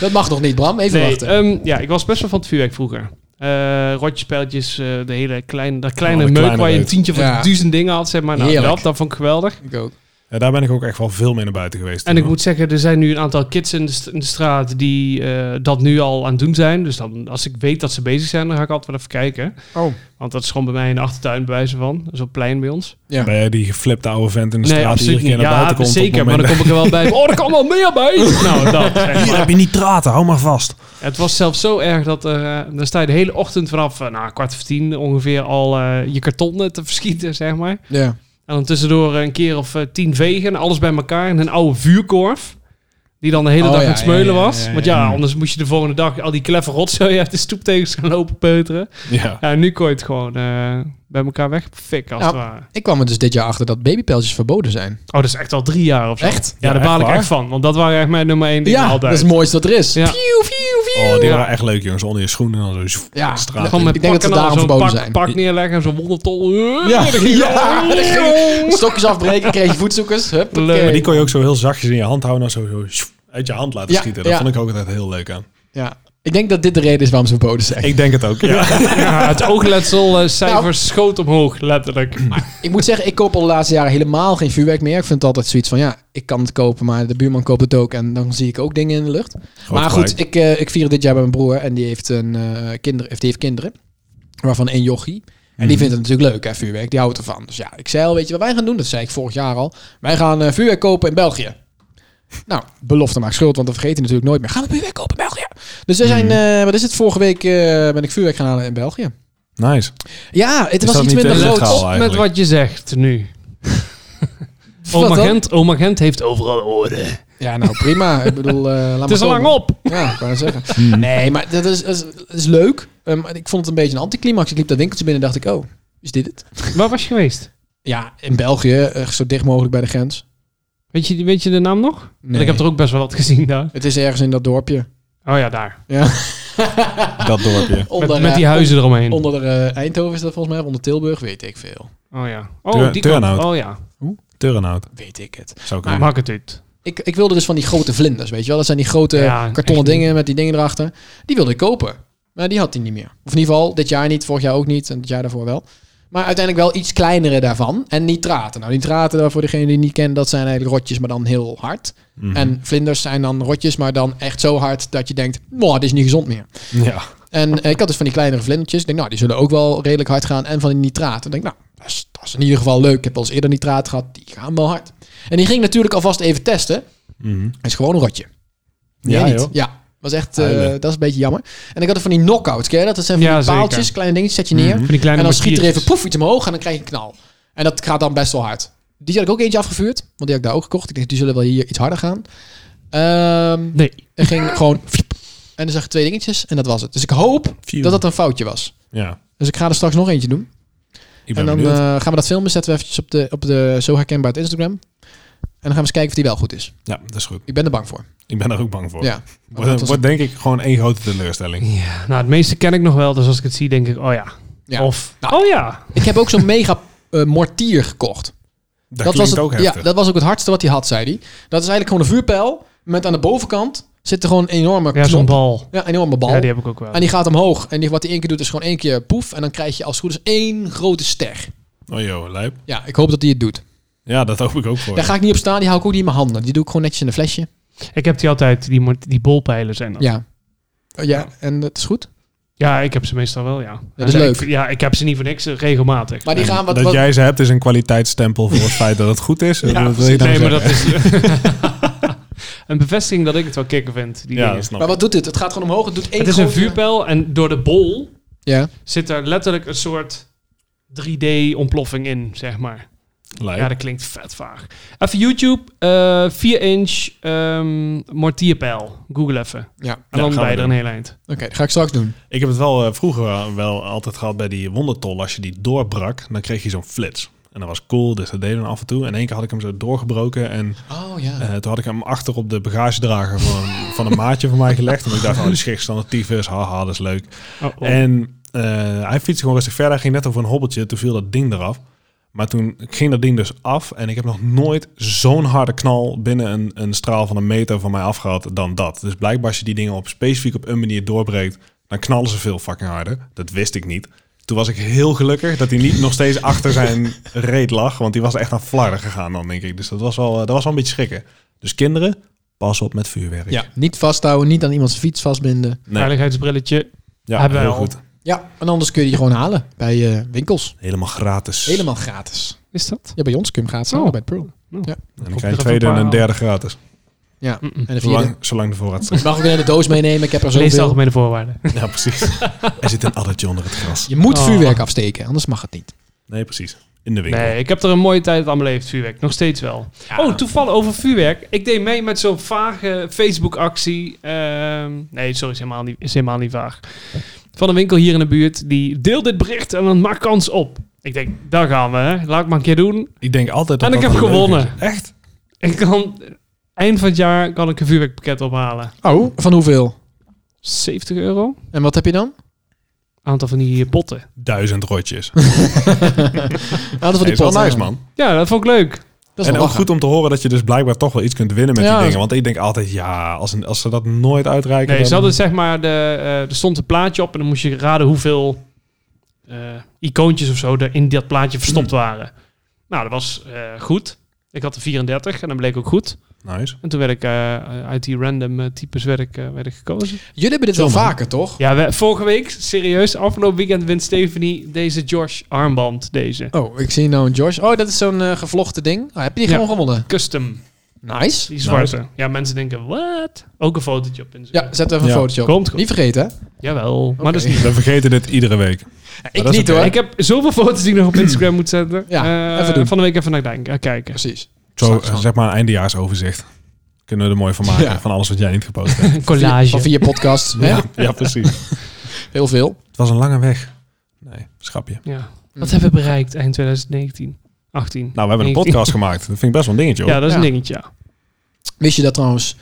dat mag nog niet, Bram. Even
Nee,
wachten.
ehm, ja, ik was best wel van het vuurwerk vroeger. Eh rotjespijltjes, eh, de hele kleine, dat kleine
Oh, de
meuk
kleine
waar je een
meuk.
tientje van
Ja.
duizend dingen had, zeg maar. Nou,
Heerlijk.
dat, dat vond ik geweldig.
ik ook.
Ja, daar ben ik ook echt wel veel meer naar buiten geweest.
En
toen,
ik moet zeggen, er zijn nu een aantal kids in de, st- in de straat die eh, dat nu al aan het doen zijn. Dus dan, als ik weet dat ze bezig zijn, dan ga ik altijd wel even kijken.
Oh.
Want dat is gewoon bij mij in de achtertuin bij wijze van. Dat is op het plein bij ons.
Ja.
Ben jij die geflipte oude vent in de straat die
absoluut
iedere keer
niet.
naar
Ja,
buiten komt? op het
zeker. Maar
moment
dan kom ik er wel bij. van, Oh, er kan wel meer bij. nou, dat. zeg
dat-
maar.
Hier heb je nitraten, hou maar vast.
Het was zelfs zo erg dat er, eh, dan sta je de hele ochtend vanaf eh, nou, kwart voor tien ongeveer al eh, je kartonnen te verschieten, zeg maar.
Ja.
En dan tussendoor een keer of eh, tien vegen, alles bij elkaar in een oude vuurkorf. Die dan de hele
Oh,
dag
ja,
aan het smeulen
ja, ja,
was.
ja, ja,
Want ja,
ja.
anders moest je de volgende dag al die kleffe rotzooi uit de stoeptegels gaan lopen peuteren.
Ja.
Ja, en nu kon je het gewoon eh, bij elkaar wegfikken, als
Ja.
het ware.
Ik kwam er dus dit jaar achter dat babypijltjes verboden zijn.
Oh, dat is echt al drie jaar of zo.
Echt?
Ja,
Ja,
daar
echt
baal ik
waar?
echt van. Want dat waren echt mijn nummer één dingen
Ja, dat
altijd.
is het mooiste wat er is.
Ja.
Pieuw, pieuw, pieuw.
Oh, die
Ja.
waren echt leuk, jongens. Onder je schoenen en dan zo... zoef,
Ja,
straat
Gewoon
in.
met
Ik denk dat ze
pakken
daarom
en dan zo'n
verboden
pak,
zijn.
pak neerleggen en zo'n wondertol.
Ja.
Ja.
Ja, dat Stokjes afbreken, kreeg je voetzoekers. Huppakee.
Leuk.
Maar die kon je ook zo heel zachtjes in je hand houden en dan zo, zo sjoef, uit je hand laten
Ja,
schieten. Dat
ja.
vond ik ook altijd heel leuk aan.
Ja. Ik denk dat dit de reden is waarom ze verboden zijn.
Ik denk het ook, ja.
Ja, Ah, het oogletsel eh, cijfer
Nou.
schoot omhoog, letterlijk.
Ik moet zeggen, ik koop al de laatste jaren helemaal geen vuurwerk meer. Ik vind het altijd zoiets van, ja, ik kan het kopen, maar de buurman koopt het ook. En dan zie ik ook dingen in de lucht. maar goed, ik, eh, ik vier het dit jaar bij mijn broer en die heeft, een, eh kinder, of die heeft kinderen. Waarvan één jochie. En
Mm. Mhm.
die vindt het natuurlijk leuk, hè, vuurwerk. Die houdt ervan. Dus ja, ik zei al, weet je wat wij gaan doen? Dat zei ik vorig jaar al. Wij gaan eh, vuurwerk kopen in België. Nou, belofte maakt schuld, want dat vergeet hij natuurlijk nooit meer. Gaan we vuurwerk kopen in België? Dus we
Mhm.
zijn, eh, wat is het, vorige week eh, ben ik vuurwerk gaan halen in België.
Nice.
Ja, het was
dat
iets
niet
minder
de
groot.
letraal?
Op met
eigenlijk.
wat je zegt nu. Oma
Wat dan?
Gent, oma Gent heeft overal oren.
Ja, nou prima. ik bedoel, eh, laat
Het is
maar
al lang
komen.
op.
Ja, ik wou zeggen.
Mm,
Nee, maar dat is, dat is, dat is leuk. Eh, maar ik vond het een beetje een anticlimax. Ik liep dat winkeltje binnen en dacht ik, oh, is dit het?
Waar was je geweest?
Ja, in België, eh, zo dicht mogelijk bij de grens.
Weet je, weet je de naam nog? Want ik heb er ook best wel wat gezien daar.
Het is ergens in dat dorpje.
Oh ja, daar.
Ja.
Dat dorpje.
onder,
Met,
eh,
met die huizen eromheen.
Onder eh, Eindhoven is dat volgens mij, of onder Tilburg, weet ik veel.
oh ja. Oh,
Tur-
die kant.
Turnhout.
Oh ja.
Turnhout.
Weet ik het.
Zou ik
Maar-
Maak het uit.
Ik, ik wilde dus van die grote vlinders, weet je wel? Dat zijn die grote
Ja,
kartonnen
echt niet.
dingen met die dingen erachter. Die wilde ik kopen. Maar die had hij niet meer. Of in ieder geval, dit jaar niet, vorig jaar ook niet. En het jaar daarvoor wel. Maar uiteindelijk wel iets kleinere daarvan. En nitraten. Nou, nitraten, daar voor degene die niet kent, dat zijn eigenlijk rotjes, maar dan heel hard.
Mhm.
En vlinders zijn dan rotjes, maar dan echt zo hard dat je denkt, wow, dit is niet gezond meer.
Ja.
En eh, ik had dus van die kleinere vlindertjes. Ik denk, nou, die zullen ook wel redelijk hard gaan. En van die nitraten. Ik denk, nou, dat is, dat is in ieder geval leuk. Ik heb al eens eerder nitraat gehad. Die gaan wel hard. En die ging natuurlijk alvast even testen.
Mhm.
Hij is gewoon een rotje. Meer
Ja,
niet.
joh.
Ja, was echt, eh,
Huilen.
dat is een beetje jammer. En ik had er van die knockouts, ken je dat? Dat zijn van
Ja,
die
zeker.
paaltjes, kleine dingetjes, zet je neer.
Mhm.
Van die kleine
En dan schiet er
mortiertjes.
even poef iets omhoog en dan krijg je een knal. En dat gaat dan best wel hard. Die had ik ook eentje afgevuurd, want die had ik daar ook gekocht. Ik dacht, die zullen wel hier iets harder gaan. Ehm
Nee.
er ging gewoon... En er zag ik twee dingetjes en dat was het. Dus ik hoop
Phew.
dat dat een foutje was.
Ja,
Dus ik ga er straks nog eentje doen.
ik ben
En dan
benieuwd.
eh, gaan we dat filmen. Zetten we eventjes op de, op de Zo Herkenbaar het Instagram. En dan gaan we eens kijken of die wel goed is.
ja, dat is goed.
Ik ben er bang voor.
Ik ben daar ook bang voor.
Ja.
Wordt,
dat was
wordt denk ik gewoon één grote teleurstelling.
Ja, nou, het meeste ken ik nog wel. Dus als ik het zie, denk ik, oh ja.
Ja.
Of,
Nou,
oh ja.
Ik heb ook zo'n mega eh, mortier gekocht.
Dat,
Dat was,
klinkt
het,
ook
ja,
heftig.
dat was ook het hardste wat hij had, zei hij. Dat is eigenlijk gewoon een vuurpijl. Met aan de bovenkant zit er gewoon een enorme
Ja, zo'n
knop.
bal.
Ja, een enorme bal.
Ja, die heb ik ook wel.
En die gaat omhoog. En die, wat hij één keer doet, is gewoon één keer poef. En dan krijg je als het goed is één grote ster.
Oh joh, lijp.
Ja, ik hoop dat hij het doet.
Ja, dat hoop ik ook voor.
Daar
je.
ga ik niet op staan. Die hou ik ook niet in mijn handen. Die doe ik gewoon netjes in een flesje.
Ik heb die altijd, die, mor- die bolpijlen zijn
Nou.
dat. Ja.
Ja. Oh, ja, en dat is goed.
ik heb ze meestal wel, ja.
Dat is
Ja,
leuk.
ik- ja, ik heb ze niet voor niks, eh, regelmatig.
Maar die gaan wat...
dat
wat-
jij ze hebt is een kwaliteitsstempel voor het feit dat het goed is.
Ja,
dat wil je
precies.
dan
nee, maar
zeggen.
dat is... een bevestiging dat ik het wel kikker vind, die
Ja,
dingen.
dat snap ik.
maar wat doet dit? Het gaat gewoon omhoog. Het doet één
Het is een
grote-
vuurpijl en door de bol
Ja.
zit er letterlijk een soort 3D-ontploffing in, zeg maar.
Lijp.
Ja, dat klinkt vet vaag. Even YouTube, eh 4-inch ehm mortierpijl. Google even.
ja.
En
Ja,
dan
gaan
bij
we
er een
doen.
heel eind.
Oké, dat ga ik straks doen.
Ik heb het wel eh, vroeger wel- wel altijd gehad bij die wondertol. Als je die doorbrak, dan kreeg je zo'n flits. En dat was cool, dus dat deden we af en toe. En één keer had ik hem zo doorgebroken. En
Oh ja.
eh, toen had ik hem achter op de bagagedrager van, van een maatje van mij gelegd. En ik dacht, oh, die schriftstandaard tyfus, haha, dat is leuk.
Oh, oh.
En eh, hij fietste gewoon rustig verder. Hij ging net over een hobbeltje. Toen viel dat ding eraf. Maar toen ging dat ding dus af. En ik heb nog nooit zo'n harde knal binnen een, een straal van een meter van mij afgehad dan dat. Dus blijkbaar als je die dingen op specifiek op een manier doorbreekt, dan knallen ze veel fucking harder. Dat wist ik niet. Toen was ik heel gelukkig dat hij niet nog steeds achter zijn reet lag. Want die was echt aan flarden gegaan dan, denk ik. Dus dat was wel, eh, dat was wel een beetje schrikken. Dus kinderen, pas op met vuurwerk.
Ja. Niet vasthouden, niet aan iemands fiets vastbinden.
nee.
Veiligheidsbrilletje.
Ja,
Hebben we
heel
al.
goed.
Ja, en anders kun je die gewoon halen bij eh, winkels.
Helemaal gratis.
Helemaal gratis.
Is dat?
Ja, bij ons kun je hem gratis
Oh.
halen bij het Pearl.
En dan krijg
Komt
je
er
een tweede
even
en
een
een eh,
paar
derde gratis.
Ja,
Mm-mm.
en de vierde.
Zolang, zolang de voorraad staat.
Ik mag ook een hele doos meenemen. Ik heb er
Lees de
zoveel.
algemene voorwaarden.
Ja, precies. Er zit een addertje onder het gras.
Je moet
Oh.
vuurwerk afsteken, anders mag het niet.
Nee, precies. In de winkel.
Nee, ik heb er een mooie tijd aan beleefd, vuurwerk. Nog steeds wel. Oh, toevallig over vuurwerk. Ik deed mee met zo'n vage Facebook-actie. Ehm, nee, sorry, is helemaal, niet, is helemaal niet vaag. Van een winkel hier in de buurt. Die deel dit bericht en dan maak kans op. Ik denk, daar gaan we. Hè. Laat ik maar een keer doen.
Ik denk altijd dat
En ik
dat
heb
wel leuk
gewonnen.
is. Echt?
Ik kan, eind van het jaar kan ik een vuurwerkpakket ophalen.
Oh. Van hoeveel?
70 euro.
En wat heb je dan?
Aantal van die eh, potten.
Duizend rotjes.
Aantal van
Dat
die
is wel
pot.
nice, man.
Ja, dat vond ik leuk.
Dat is
En
wel
ook
lachen.
goed om te horen dat je dus blijkbaar toch wel iets kunt winnen met
Ja,
die
dat
dingen. Want ik denk altijd, ja, als, een, als ze dat nooit uitreiken...
Nee,
dan-
ze hadden zeg maar, de, eh, er stond een plaatje op en dan moest je raden hoeveel eh, icoontjes of zo er in dat plaatje verstopt waren. Nou, dat was eh, goed. Ik had er 34 en dat bleek ook goed.
Nice.
En toen werd ik eh, uit die random eh, types werd ik, eh, werd ik gekozen.
Jullie hebben dit
Zo,
wel
man.
vaker, toch?
Ja, we- vorige week, serieus, afgelopen weekend wint Stephanie deze Josh armband, deze.
Oh, ik zie nou een George. Oh, dat is zo'n eh, gevlochten ding. Oh, heb je die
Ja.
gewoon gewonnen?
Custom,
Nice.
die zwarte. Ja, mensen denken, wat? Ook een fotootje op. Instagram.
Ja, zet er even een
Ja,
fotootje op.
komt goed.
Niet vergeten, hè?
Jawel,
Oké.
maar dat is niet...
We vergeten dit iedere week.
Ik
dat is
niet,
oké.
hoor.
Ik heb zoveel foto's die ik nog op Instagram moet zetten.
Ja,
Eh,
even doen.
Van de week even naar denken, Eh, kijken.
Precies.
Zo,
Straks
eh,
wel.
zeg maar een eindejaarsoverzicht. Kunnen we er mooi van maken.
Ja.
Van alles wat jij niet gepost hebt.
Van
Een collage.
via podcast. hè?
ja, ja, precies.
Heel veel.
Het was een lange weg. Nee, schapje.
Ja.
Mm.
Wat hebben we bereikt eind 2019? 18.
Nou, we hebben een
19.
podcast gemaakt. Dat vind ik best wel een dingetje, hoor.
Ja, dat is een
Ja.
dingetje. Ja.
Wist je dat trouwens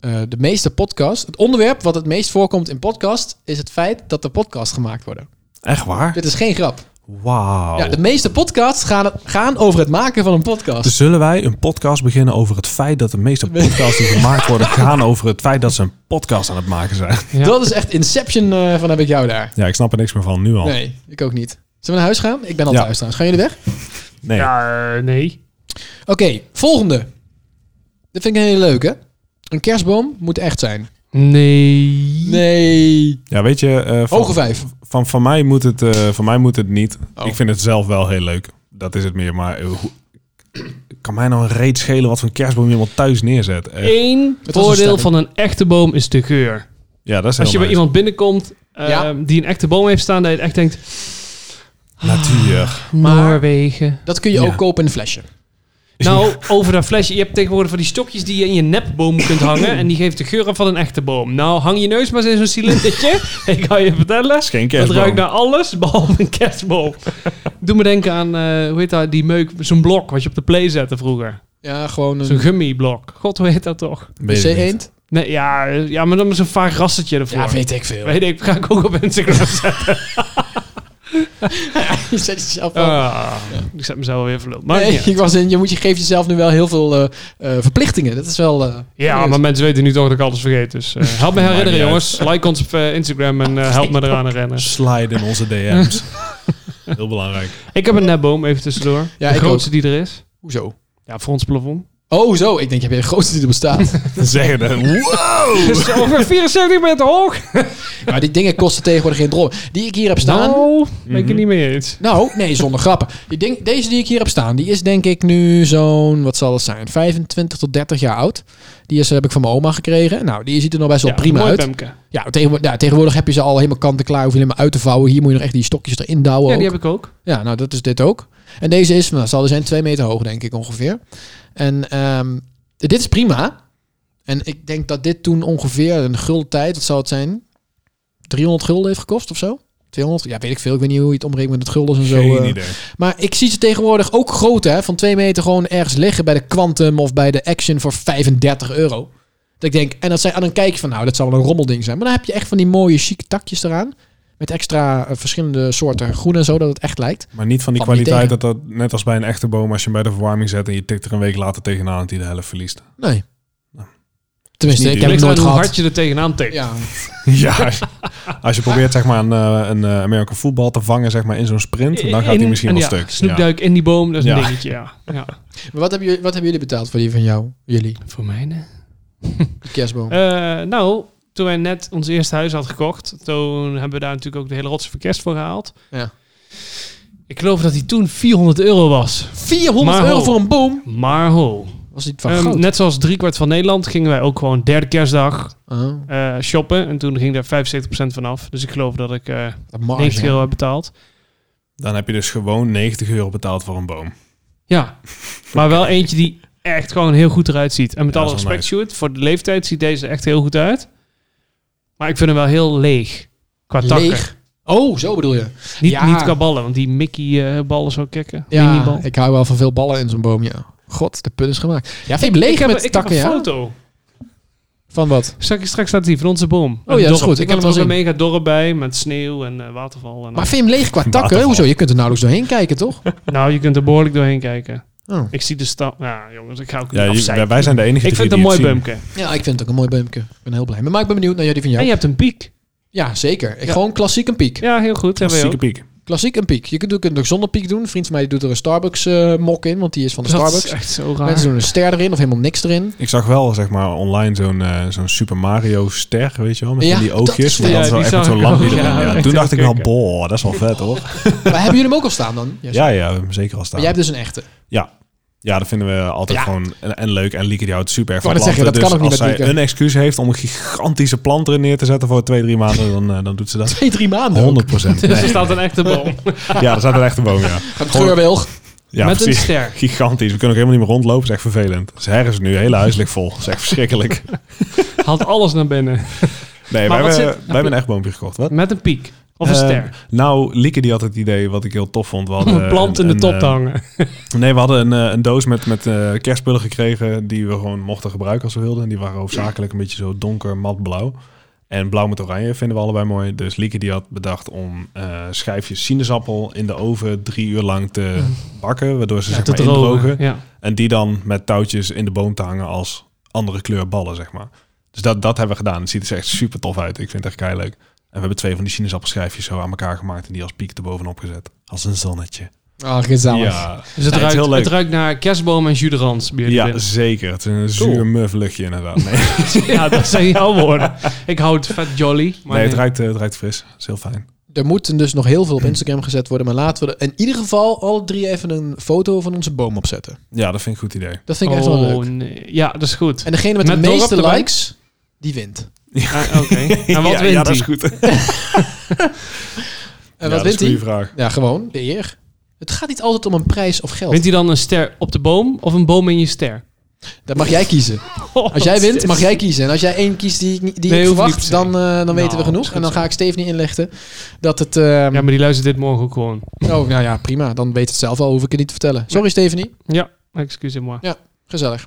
eh, de meeste podcast, het onderwerp wat het meest voorkomt in podcast, is het feit dat er podcasts gemaakt worden.
Echt waar?
Dit is geen grap.
Wauw.
Ja, de meeste podcasts gaan, gaan over het maken van een podcast.
Dus Zullen wij een podcast beginnen over het feit dat de meeste podcasts die gemaakt worden gaan over het feit dat ze een podcast aan het maken zijn?
Ja.
Dat is echt Inception eh, van heb ik jou daar.
Ja, ik snap er niks meer van nu al.
Nee, ik ook niet. Zullen we naar huis gaan? Ik ben al
Ja.
thuis trouwens. Gaan jullie weg?
Nee.
Ja, eh, nee.
Oké, volgende. Dit vind ik een hele leuke. Een kerstboom moet echt zijn.
Nee.
Nee.
Ja, weet je, eh,
Hoge
van,
vijf.
van, van, mij moet het, eh, van mij moet het niet.
Oh.
Ik vind het zelf wel heel leuk. Dat is het meer. Maar eh, hoe- kan mij nou een reet schelen wat voor een kerstboom iemand thuis neerzet? Eh, Echt.
Eén
Het was een
voordeel
stelling.
van een echte boom is de geur.
Ja, dat is
Als je
heel
bij
nice.
iemand binnenkomt eh,
Ja.
die een echte boom heeft staan, dat je echt denkt,
Natuur.
Ah.
Noorwegen.
Dat kun je
Ja.
ook kopen in een flesje.
Nou, over dat flesje. Je hebt tegenwoordig van die stokjes die je in je nepboom kunt hangen. En die geeft de geur af van een echte boom. Nou, hang je neus maar eens in zo'n cilindertje. Ik kan je vertellen.
is geen
Het
kerstboom.
ruikt naar alles, behalve een kerstboom. Doe me denken aan, eh, hoe heet dat, die meuk, zo'n blok wat je op de play zette vroeger.
Ja, gewoon
Zo'n
een
gummiblok. God, hoe heet dat toch?
Weet ik niet.
C1.
Nee, ja, eh, ja maar dan met zo'n vaag rastertje ervoor.
Ja, weet ik veel.
Weet ik, ga ik ook op Instagram zetten.
je zet jezelf wel-
Ah, Ik zet mezelf alweer verloren. Maar
nee,
niet uit.
ik was in, je, moet, je geeft jezelf nu wel heel veel eh, eh, verplichtingen. Dat is wel... eh,
Ja, maar mensen weten nu toch dat ik alles vergeet. Dus eh, help me
Maakt
herinneren,
niet
jongens. Like ons op eh, Instagram en eh, help me eraan herinneren.
Slide in onze DM's. Heel belangrijk.
Ik heb een nepboom, even tussendoor.
Ja,
de
ik
grootste die er is.
Hoezo?
Ja, voor ons plafond.
Oh, zo. Ik denk, heb je de grootste die er bestaat.
Zeggen dan. Wow!
Dus ongeveer 74 meter hoog.
maar die dingen kosten tegenwoordig geen droom. Die ik hier heb staan...
Nou, ben ik het niet mee eens.
Nou, nee, zonder grappen. Die ding, deze die ik hier heb staan, die is denk ik nu zo'n, wat zal het zijn, 25 tot 30 jaar oud. Die is, eh, heb ik van mijn oma gekregen. Nou, die ziet er nog best wel
Ja,
prima
mooi
uit.
Pemke.
Ja, tegenwoordig, ja, tegenwoordig heb je ze al helemaal kanten klaar. Hoef je alleen maar uit te vouwen. Hier moet je nog echt die stokjes erin douwen.
Ja,
ook.
die heb ik ook.
Ja, nou dat is dit ook. En deze is, nou, zal er zijn, twee meter hoog denk ik ongeveer. En ehm, dit is prima. En ik denk dat dit toen ongeveer een gulden tijd, dat zou het zijn, 300 gulden heeft gekost of zo. 200, ja weet ik veel. Ik weet niet hoe je het omrekent met het guldens en zo.
Geen
eh.
idee.
Maar ik zie ze tegenwoordig ook groot hè, van twee meter gewoon ergens liggen bij de Quantum of bij de Action voor 35 euro. Dat ik denk, en, dat zijn, en dan kijk je van nou, dat zal wel een rommelding zijn. Maar dan heb je echt van die mooie, chique takjes eraan. Met extra eh, verschillende soorten groen en zo, dat het echt lijkt.
Maar niet van die
Valt niet
kwaliteit
tegen.
dat dat net als bij een echte boom, als je hem bij de verwarming zet en je tikt er een week later tegenaan dat hij de helft verliest.
Nee.
Nou.
Tenminste,
Is niet
ik
duur.
heb het
Ligt eraan
nooit
hoe
gehad.
hard je er tegenaan tikt.
Ja.
Ja, als- als je probeert zeg maar een, eh, een eh, American voetbal te vangen zeg maar, in zo'n sprint, dan gaat hij
In-
misschien
en
wel
ja,
stuk.
Snoepduik in die boom, dat is een
Ja.
dingetje, ja. ja.
Maar wat hebben, jullie, wat hebben jullie betaald voor die van jou? Jullie,
Voor mij, hè?
die kerstboom.
Eh, nou, toen wij net ons eerste huis hadden gekocht, toen hebben we daar natuurlijk ook de hele rotse voor kerst voor gehaald.
Ja.
Ik geloof dat die toen 400 euro was.
400
maar
euro
ho.
voor een boom?
Maar ho.
Was dit van
Ehm,
goud?
net zoals driekwart van Nederland gingen wij ook gewoon derde kerstdag
Ah,
eh, shoppen. En toen ging daar 75% van af. Dus ik geloof dat ik eh
dat marge.
90 euro heb betaald.
Dan heb je dus gewoon 90 euro betaald voor een boom.
Ja, maar wel eentje die echt gewoon heel goed eruit ziet. En met
Ja,
alle
dat is
respect,
wel
Sjoerd, voor de leeftijd ziet deze echt heel goed uit. Maar ik vind hem wel heel leeg. Qua takken.
Leeg. Oh, zo bedoel je.
Niet,
Ja.
niet qua ballen, want die Mickey-ballen zo kicken.
Ja,
Minibal.
ik hou wel van veel ballen in zo'n boom, ja. God, de put is gemaakt. Ja, vind je leeg
ik heb,
met
ik
takken,
heb een
ja?
foto. Nou.
Van wat?
Zal ik je straks laten zien van onze boom.
Oh ja, dat is goed.
Ik,
Ik
heb
kan
er ook
hem
een
wel
mega dorp bij met sneeuw en eh, waterval. En
Maar
al.
vind je hem leeg qua takken?
Waterval.
Hoezo? Je kunt er nauwelijks doorheen kijken, toch?
Nou, je kunt er behoorlijk doorheen kijken.
Oh.
Ik zie de stad. Nou, jongens, ik ga ook
Ja,
niet
je-
afzeiken.
wij- wij zijn de enige
Ik vind het een mooi bumke.
Ja, ik vind het ook een mooi beempje. Ik ben heel blij. Maar ik ben benieuwd naar jullie van
En
jou.
je hebt een piek.
Ja, zeker. Ik
Ja.
Gewoon klassiek een piek.
Ja, heel goed. Hebben we
Zieke
ook.
piek.
Klassiek een piek. Je kunt, je kunt het ook zonder piek doen. Een vriend van mij die doet er een Starbucks eh, mok in, want die is van de
Dat is
Starbucks.
echt zo raar.
Mensen doen een ster erin of helemaal niks erin.
Ik zag wel zeg maar online zo'n eh, zo'n Super Mario ster, weet je wel, met
Ja,
van die
dat is
oogjes.
vet.
Maar dan
Ja,
zo
die
echt met
zag
zo'n
ik ook.
lampje
Ja,
erin. Ja,
echt
toen dacht ik
heel
wel,
kicken.
boh, dat is wel vet hoor.
maar hebben jullie hem ook al staan dan? Ja,
Ja, ja, we hebben hem zeker al
Maar
staan.
jij hebt dus een echte.
Ja, dat vinden we altijd
Ja.
gewoon en, en leuk. En Lieke die houdt super erg
Ik
van
wou net zeggen,
planten.
dat kan ook
dus
niet
als
met
zij
Lieke.
een excuus heeft om een gigantische plant erin neer te zetten voor twee, drie maanden, dan, eh, dan doet ze dat.
Twee, drie maanden.
100 procent.
Dus er staat een echte boom.
Ja, er staat een echte boom, ja.
Een geurwilg.
ja
met een
precies.
ster.
Gigantisch. We kunnen ook helemaal niet meer rondlopen. Dat is echt vervelend. Dus ergens nu, hele huis ligt vol. Dat is echt verschrikkelijk.
Haalt alles naar binnen.
Nee, wij
Maar
hebben,
wat
wij
zit-
hebben een echt boompje gekocht. Wat?
Met een piek. Of een
Eh,
ster.
Nou, Lieke die had het idee, wat ik heel tof vond. We
Om
hadden
een plant in de
een,
top te
eh,
hangen.
Nee, we hadden een, eh, een doos met, met eh, kerstspullen gekregen die we gewoon mochten gebruiken als we wilden. En die waren hoofdzakelijk een beetje zo donker, mat blauw. En blauw met oranje vinden we allebei mooi. Dus Lieke die had bedacht om eh, schijfjes sinaasappel in de oven drie uur lang te bakken. Waardoor ze
Mm. Ja,
zeg
te
maar indrogen.
drogen. Ja.
En die dan met touwtjes in de boom te hangen als andere kleur ballen, zeg maar. Dus dat, dat hebben we gedaan. Het ziet er echt super tof uit. Ik vind het echt kei leuk. En we hebben twee van die sinaasappelschijfjes zo aan elkaar gemaakt en die als piek erbovenop gezet. Als een zonnetje.
Ah, gezellig.
Dus het,
Nee,
ruikt,
is heel leuk.
het ruikt naar kerstboom en juderans bij jullie
Ja,
binnen.
zeker. Het is een
Cool.
zuur muf luchtje inderdaad. Nee,
ja, dat zijn jouw woorden. Ik hou het vet jolly. Maar
nee het, ruikt, eh, het ruikt fris. Het is heel fijn.
Er moeten dus nog heel veel
Hm.
op Instagram gezet worden. Maar laten we er in ieder geval alle drie even een foto van onze boom opzetten.
Ja, dat vind ik een goed idee.
Dat vind ik echt wel
Oh,
leuk.
nee. Ja, dat is goed.
En degene met,
Met
de
dorp
meeste
erbij?
likes, die wint. Eh,
Ah, Oké. En wat
ja, ja,
wint hij?
dat is goed.
En
Ja,
wat
dat is
wint
een goede
hij?
vraag.
Ja, gewoon de eer. Het gaat niet altijd om een prijs of geld.
Wint hij dan een ster op de boom of een boom in je ster? Oh,
Dat mag jij kiezen. Als jij wint, mag jij kiezen. En als jij één kiest die ik, niet- die
Nee,
ik
hoeft niet
verwacht,
per se.
dan, eh, dan weten we
Nou, is
genoeg.
goed
En dan
zo.
ga ik Steve niet inlichten dat het... ehm,
Ja, maar die luistert dit morgen ook gewoon.
Oh, nou ja, prima. Dan weet het zelf al, hoef ik het niet te vertellen. Sorry, Stephanie.
Ja, excuus me. Maar,
Gezellig.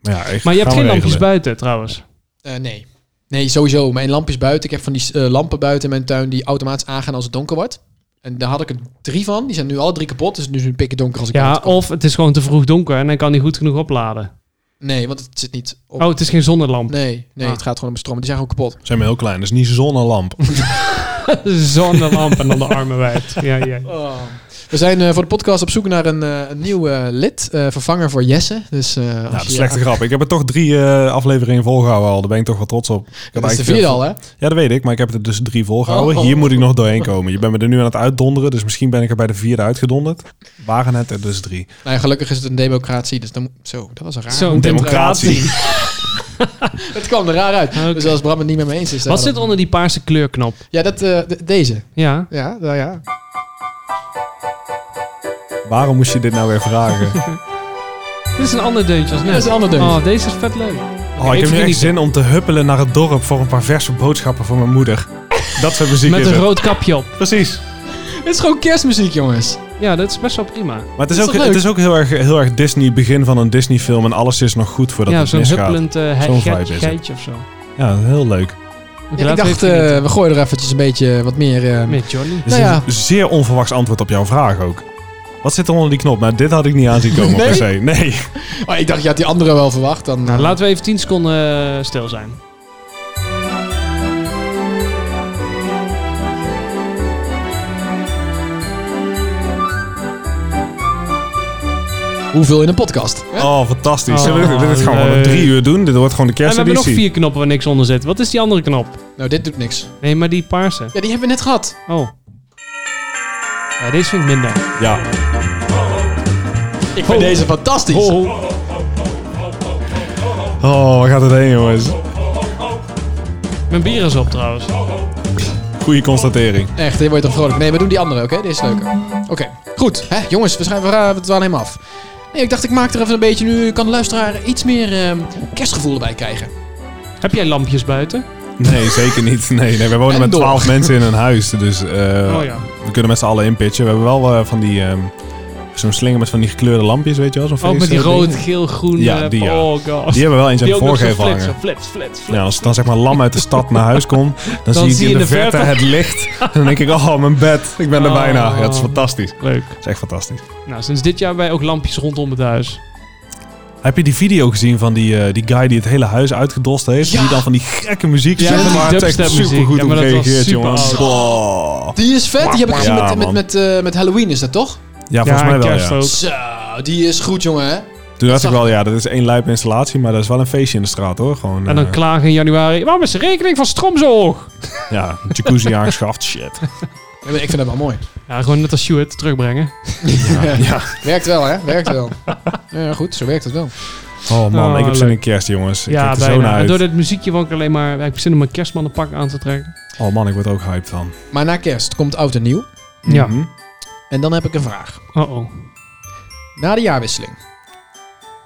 Ja, echt,
maar je hebt
gaan
geen
we
lampjes
regelen.
buiten trouwens.
Eh, nee. Nee, sowieso. Mijn lampjes buiten. Ik heb van die eh, lampen buiten in mijn tuin die automatisch aangaan als het donker wordt. En daar had ik er drie van. Die zijn nu alle drie kapot. Dus nu is het pikken donker als ik
Ja,
buiten kom.
of het is gewoon te vroeg donker en dan kan hij goed genoeg opladen.
Nee, want het zit niet op.
Oh, het is geen zonnelamp.
Nee, nee
Ah.
het gaat gewoon om stroom. Die zijn gewoon kapot.
Zijn we heel klein, dus niet zonnelamp.
Zonnelamp en dan de armen wijd. Ja, ja.
We zijn eh, voor de podcast op zoek naar een, eh, een nieuw eh, lid. eh, vervanger voor Jesse. Dus, eh, als
Ja, dat
je-
is slechte grap. Ik heb er toch drie eh, afleveringen volgehouden al. Daar ben ik toch wel trots op. Ik had
Dat is de
eigenlijk
vierde
veel-
al, hè?
Ja, dat weet ik, maar ik heb er dus drie volgehouden.
Oh.
Hier moet ik nog doorheen komen. Je bent me er nu aan het uitdonderen, dus misschien ben ik er bij de vierde uitgedonderd. Waren het er dus drie.
Nou ja, gelukkig is het een democratie. Dus dan, moet- zo, dat was een raar.
Zo'n
Democratie.
Het kwam er raar uit.
Oké.
Dus als Bram het niet met me eens is... dan-
Wat zit onder die paarse kleurknop?
Ja, dat, eh, de- deze.
Ja.
Ja, nou ja.
Waarom moest je dit nou weer vragen?
Dit is een ander deuntje als net.
Dat is een ander deuntje.
Oh, deze is vet leuk.
Oh, ik heb nu echt zin om te huppelen naar het dorp voor een paar verse boodschappen voor mijn moeder. Dat soort muziek
Met
is
een
het.
rood kapje op.
Precies.
Het is gewoon kerstmuziek, jongens.
Ja, dat is best wel prima.
Maar het is,
Dat is
ook,
toch
het
leuk?
is ook heel erg, heel erg Disney, begin van een Disney film en alles is nog goed voordat
ja,
het
zo'n
misgaat.
huppelend eh
Zo'n
he-
vibe
geit-
is het.
geitje of zo.
Ja, heel leuk.
Oké,
ik
laten we
dacht,
even genieten.
eh, we gooien er eventjes een beetje wat meer... eh,
Met Johnny.
Dit is
Nou ja.
een zeer onverwachts antwoord op jouw vraag ook. Wat zit er onder die knop? Nou, dit had ik niet aan zien komen
Nee?
per se. Nee.
Oh, ik dacht, je had die andere wel verwacht. Dan,
Nou, laten we even 10 seconden eh, stil zijn.
Hoeveel in een podcast? hè?
Oh, fantastisch.
Oh,
Zullen we dit, dit gaan we gewoon
leuk.
op drie uur doen. Dit wordt gewoon de
en we hebben nog
kersteditie.
vier knoppen waar niks onder zit. Wat is die andere knop?
Nou, dit doet niks.
Nee, maar die paarse.
Ja, die hebben we net gehad.
Oh. Ja, deze vind ik minder.
Ja.
Ik vind deze fantastisch.
Oh.
Oh, waar gaat het heen, jongens?
Mijn bier is op trouwens.
Goeie constatering.
Echt, hier word je toch vrolijk. Nee, we doen die andere, oké? Deze is leuker. Oké, goed. Hè, jongens, we schrijven we raden het wel helemaal af. Nee, ik dacht, ik maak er even een beetje... Nu kan de luisteraar iets meer ehm, kerstgevoel erbij krijgen.
Heb jij lampjes buiten?
Nee, zeker niet. Nee, nee we
En
wonen met
door.
twaalf mensen in een huis. Dus eh,
Oh ja.
we kunnen met z'n allen inpitchen. We hebben wel eh, van die... ehm, Zo'n slinger met van die gekleurde lampjes, weet je wel? Zo'n
Ook Oh, met die
feest, eh, ding.
rood, geel, groen.
Ja,
eh,
die, ja.
Oh god.
Die hebben we wel eens aan de
ook nog zo
voorgevel
flits, zo
hangen.
flits, flits, flits.
Ja, als ik dan zeg maar lam uit de stad naar huis kom, dan, zie ik in de, verte het licht. En dan denk ik, oh, mijn bed. Ik ben er
Oh.
bijna. Ja, dat is fantastisch.
Leuk.
Dat is echt fantastisch.
Nou, sinds dit jaar hebben wij ook lampjes rondom het huis.
Heb je die video gezien van die, eh, die guy die het hele huis uitgedost heeft?
Ja.
Die dan van die gekke muziek
Ja,
zet,
met die
maar het is echt
dubstep muziek.
supergoed
Ja,
op
maar dat was
gereageerd,
super
jongens.
oud.
Oh.
Die is vet. Die heb ik gezien
Ja,
met, met,
man.
met, eh, met Halloween, is dat toch?
Ja, volgens mij wel, ja.
ook.
Zo, die is goed, jongen, hè?
Toen dacht ik
zag-
wel, ja, dat is één lijp installatie, maar dat is wel een feestje in de straat, hoor. Gewoon,
En dan
eh,
klagen in januari. Waarom is de rekening van Strom zo hoog?
ja, een jacuzzi aangeschaft, shit.
Ja, maar Ik vind dat wel mooi.
Ja, gewoon net als Stuart terugbrengen.
Ja.
Werkt wel, hè? Werkt wel. Ja, goed, zo werkt het wel.
Oh man,
Oh,
ik heb zin
leuk.
in kerst, jongens. Ik
ja,
kijk er zo naar
En
uit.
door dit muziekje word ik alleen maar... Ik heb zin om mijn kerstmannenpak aan te trekken.
Oh man, ik word er ook hyped van.
Maar na kerst komt oud en nieuw.
Ja.
Mhm.
En dan heb ik een vraag.
Oh-oh.
Na de jaarwisseling.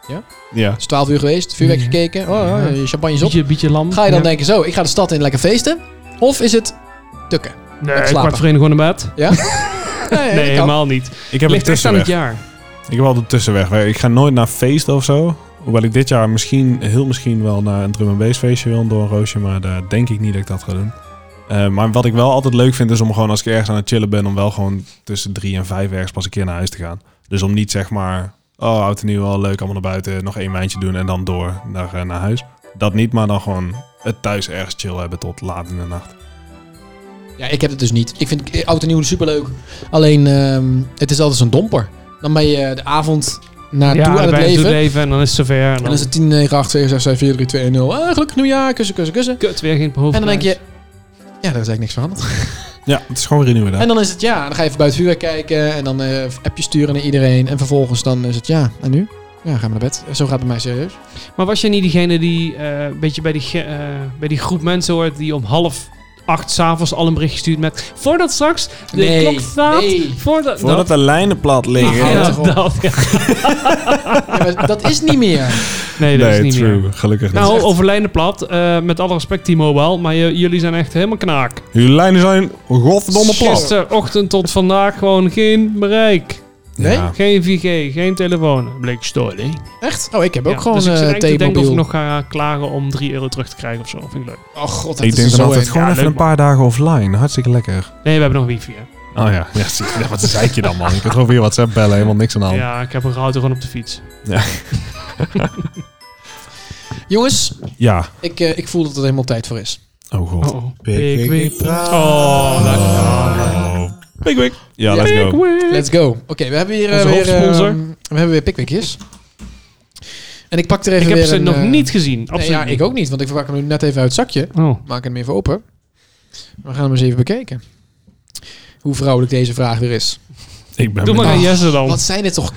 Ja.
Het is 12 uur geweest, vuurwerk
Ja.
gekeken, oh,
Ja.
oh, je champagne is op.
Beetje, beetje lam.
Ga je dan
Ja.
denken, zo, ik ga de stad in lekker feesten? Of is het tukken?
Nee, ik
slapen?
word vreemd gewoon naar bed.
Nee,
Nee,
eh, dat kan.
helemaal niet.
Ik heb een
Ligt echt aan
tussenweg.
het jaar.
Ik heb wel de tussenweg. Ik ga nooit naar feesten of zo. Hoewel ik dit jaar misschien, heel misschien wel naar een drum and bass feestje wil door een roosje. Maar daar denk ik niet dat ik dat ga doen. Eh, maar wat ik wel altijd leuk vind is om gewoon als ik ergens aan het chillen ben... om wel gewoon tussen drie en vijf ergens pas een keer naar huis te gaan. Dus om niet zeg maar... Oh, oud en nieuw, wel leuk, allemaal naar buiten. Nog één wijntje doen en dan door naar, eh, naar huis. Dat niet, maar dan gewoon het thuis ergens chill hebben tot laat in de nacht.
Ja, ik heb het dus niet. Ik vind eh, oud en nieuw superleuk. Alleen, ehm, het is altijd zo'n domper. Dan ben je de avond naartoe
ja,
aan het
bij
leven. En
leven en dan is het zover. En dan,
dan is het 10, 9, 8, 7, 6, 5, 4, 3, 2, 1, 0. Ah, gelukkig nieuwjaar, kussen, kussen, kussen.
kut weer geen hoofd.
En dan denk je, ja, daar is eigenlijk niks veranderd.
Ja, het is gewoon weer een nieuwe dag.
En dan is het ja, dan ga je even buiten vuur kijken en dan eh appjes sturen naar iedereen. En vervolgens dan is het ja, en nu? Ja, gaan we naar bed. Zo gaat het bij mij serieus.
Maar was je niet diegene die eh, een beetje bij die, ge- eh, bij die groep mensen hoort die om half acht s'avonds al een bericht gestuurd met... Voordat straks de
Nee,
klok slaat...
nee.
Voordat,
Voordat de lijnen plat
dat,
liggen.
Ah,
ja,
ja.
dat, ja.
Ja, maar dat is niet meer.
Nee, dat is niet
true.
meer.
Gelukkig niet.
Nou, overlijden plat. eh, met alle respect, T-Mobile. Maar je- jullie zijn echt helemaal knaak.
Oh.
Jullie lijnen zijn godverdomme plat.
Gisterochtend tot vandaag gewoon geen bereik.
Nee?
Ja.
Geen 4G, geen telefoon. Bleek story.
Echt? Oh, ik heb ook
Ja,
gewoon
dus ik zit
eh
eigenlijk te denken of
T-mobiel.
ik nog ga klagen om 3 euro terug te krijgen of zo. Vind ik leuk.
Oh god, dat
Ik
is
denk
zo
dan altijd
eng.
gewoon
Ja,
even
leuk,
dus een paar dagen offline. Hartstikke lekker.
Nee, we hebben nog wifi. Hè.
Oh ja, ja zie je. wat zei je dan man? Ik kan gewoon via WhatsApp bellen, helemaal niks
Oh.
aan de hand.
Ja, ik heb een router gewoon op de fiets.
Jongens,
Ja.
ik, eh, ik voel dat het helemaal tijd voor is.
Oh god.
Oh,
Pik,
ik
pik,
weet. Oh, lekker.
Wik, wik. Oh. Ja,
Ja.
let's
Oh.
go.
Let's go. Oké, we hebben hier eh,
Onze
weer... eh,
hoofdsponsor.
we hebben weer pickwickjes. En ik pak er even
Ik heb
weer
ze
een,
nog
eh,
niet gezien.
Nee,
Absoluut
ja, ik ook niet, want ik verpak hem nu net even uit het zakje.
niet. Oh.
maak hem even open. We gaan hem eens even bekijken. Hoe vrouwelijk deze vraag weer is.
Ik ben
Doe maar aan
Ah,
Jesse dan.
Wat zijn dit toch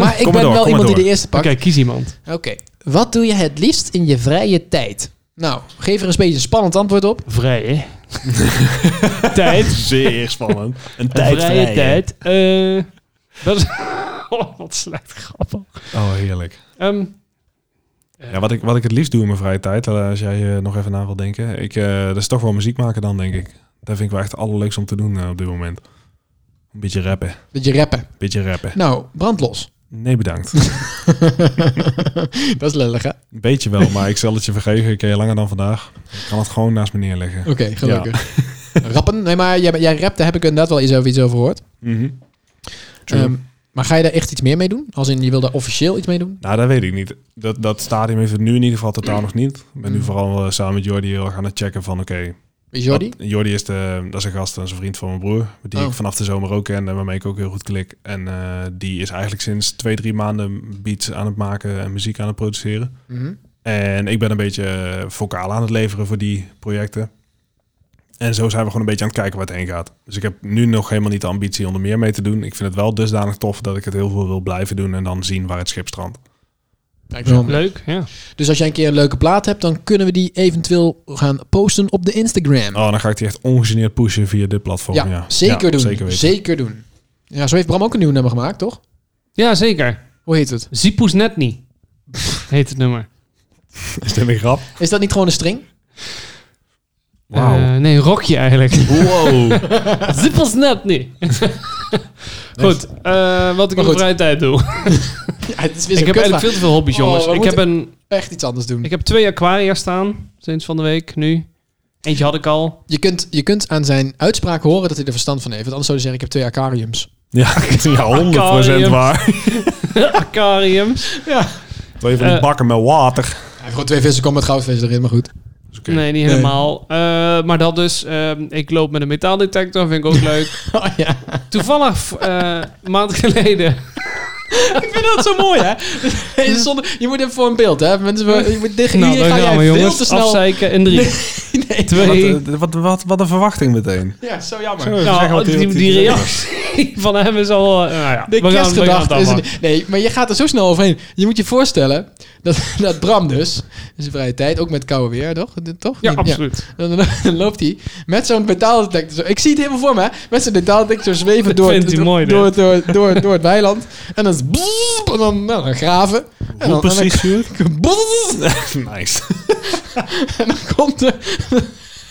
Maar
Kom
ik
maar
ben
door,
wel
kom maar
iemand die
door.
de eerste pakt.
Oké, kies iemand.
Oké. Wat doe je het liefst in je vrije tijd? Nou, geef er eens een beetje een spannend antwoord op.
Vrij, hè? Tijd.
zeer spannend. Een
vrije tijd. Eh, dat is... Oh, wat slecht grappig.
Oh, heerlijk.
Ehm,
Ja, wat ik, wat ik het liefst doe in mijn vrije tijd, eh, als jij eh, nog even na wil denken, ik, eh, dat is toch wel muziek maken dan, denk ik. Dat vind ik wel echt het allerleukste om te doen eh, op dit moment. Een beetje rappen. Een
Dat je rappen.
beetje rappen.
Nou, brandlos.
Nee, bedankt.
Dat is lullig, hè? Oké,
Een beetje wel, maar ik zal het je vergeven. Ik ken je langer dan vandaag. Ik kan het gewoon naast me neerleggen.
gelukkig. Rappen? Nee, maar jij, jij rapt, daar heb ik inderdaad wel iets over, iets over gehoord.
Mhm. True.
Ehm, maar ga je daar echt iets meer mee doen? Als in, je wil daar officieel iets mee doen?
Nou, dat weet ik niet. Dat, dat stadium heeft het nu in ieder geval
Mm.
totaal nog niet. Ik ben nu vooral eh, samen met Jordi heel erg aan het checken van... Oké,
Is Jordi?
Wat- Jordi is, de, dat is een gast, dat is een vriend van mijn broer. Die
Oh.
ik vanaf de zomer ook ken en waarmee ik ook heel goed klik. En eh, die is eigenlijk sinds twee, drie maanden beats aan het maken en muziek aan het produceren.
Mhm.
En ik ben een beetje eh, vocaal aan het leveren voor die projecten. En zo zijn we gewoon een beetje aan het kijken waar het heen gaat. Dus ik heb nu nog helemaal niet de ambitie om er meer mee te doen. Ik vind het wel dusdanig tof dat ik het heel veel wil blijven doen en dan zien waar het schip strandt.
Kijk zo.
leuk, ja.
Dus als jij een keer een leuke plaat hebt, dan kunnen we die eventueel gaan posten op de Instagram.
Oh, dan ga ik die echt ongegeneerd pushen via dit platform.
ja,
Ja,
zeker
Ja,
doen.
Zeker weten.
Zeker, doen. Ja, zo heeft Bram ook een nieuw nummer gemaakt, toch?
Ja, zeker.
Hoe heet het?
Zipoes net niet. Heet het nummer.
Is dit een grap?
Is dat niet gewoon een string?
Wauw.
Eh, nee, een rokje eigenlijk.
Wow.
Zippels net niet. goed, eh, wat ik
Maar
in
goed.
vrije tijd doe.
Ja, het is weer
Ik
zo'n
heb
kutvraag.
eigenlijk veel te veel hobby's,
Oh,
jongens.
we
ik,
moeten-
heb een,
echt iets anders doen.
ik heb twee aquaria staan sinds van de week nu. Eentje had ik al.
Je, kunt, je kunt aan zijn uitspraak horen dat hij er verstand van heeft. Want anders zou hij zeggen, ik heb twee aquariums.
Ja, ja 100%
Aquarium.
waar.
Aquariums.
Twee van die
Eh.
bakken met water.
Hij heeft gewoon twee vissen komen met goudvissen erin, maar goed.
Dus oké.
Nee, niet
Nee.
helemaal. Eh, maar dat dus. ehm, ik loop met een metaaldetector, vind ik ook leuk.
Oh, ja.
Toevallig, eh, een maand geleden.
ik vind dat zo mooi, hè? Zonder, je moet even voor een beeld, hè? Mensen, we- je moet, dit, hier
daar
ga
gaan
jij
we,
veel te snel...
Afzeiken in drie,
Nee.
twee...
Wat, eh, wat, wat, wat een verwachting meteen.
Ja, zo jammer.
Zo, zeg
Nou,
wat
die,
die-
die,
die-
reactie van hem is al... eh, nou ja,
De
we gaan, we gaan het
kerstgedachte is...
afmaken.
een- nee, maar je gaat er zo snel overheen. Je moet je voorstellen dat, dat Bram dus... in zijn vrije tijd, ook met koude weer, toch? Dit- toch?
Ja, absoluut.
Dan, dan- dan loopt hij met zo'n metaaldetector... zo- Ik zie het helemaal voor me, hè? Met zo'n metaaldetector zweven
Dat
door,
vindt
het,
hij
door,
mooi,
door, door, door, door het weiland. En dan, is boep, en dan, nou, dan graven. En dan, en dan-
Sjoerd?
boep,
nice.
en dan komt de...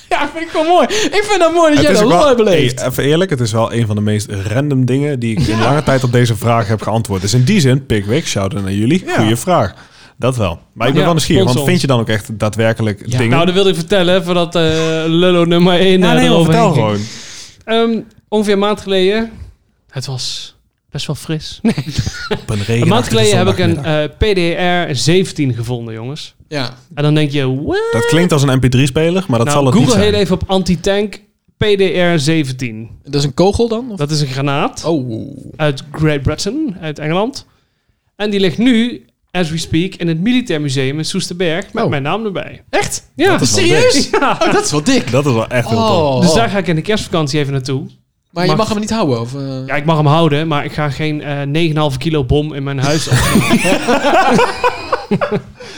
Ja, vind ik wel mooi. Ik vind dat mooi dat jij
Het is
dat
ook wel-
mooi beleeft.
Hey, even eerlijk, het is wel een van de meest random dingen die ik in lange tijd op deze vraag heb geantwoord. Dus in die zin, Pickwick, shout out naar jullie.
Ja.
Goeie vraag. Dat wel. Maar ik ben
Ja,
wel nieuwsgierig, want
sponsor
vind je dan ook echt daadwerkelijk
Ja.
dingen?
Nou, dat wilde ik vertellen voordat eh Lullo nummer eh, 1
Ja, nee,
erover
vertel gewoon.
Ehm, ongeveer een maand geleden. Het was best wel fris. Nee,
Op Een,
een maand
regenachtige
geleden heb ik een
zondagmiddag.
eh, PDR 17 gevonden, jongens.
Ja.
En dan denk je, what?
Dat klinkt als een mp3-speler, maar dat zal het
nou, Google
niet zijn.
heel even op anti-tank PDR 17.
Dat is een kogel dan? Of?
Dat is een granaat
Oh.
uit Great Britain, uit Engeland. En die ligt nu, as we speak, in het Militair Museum in Soesterberg met
Oh.
mijn naam erbij.
Echt?
Ja,
Dat is wel
Serieus?
Ja.
Oh, dat is wel dik.
Dat is wel echt heel tof.
Oh.
Dus daar ga ik in de kerstvakantie even naartoe.
Maar je
Mag-
mag hem niet houden, of? eh?
Ja, ik mag hem houden, maar ik ga geen eh 9,5 kilo bom in mijn huis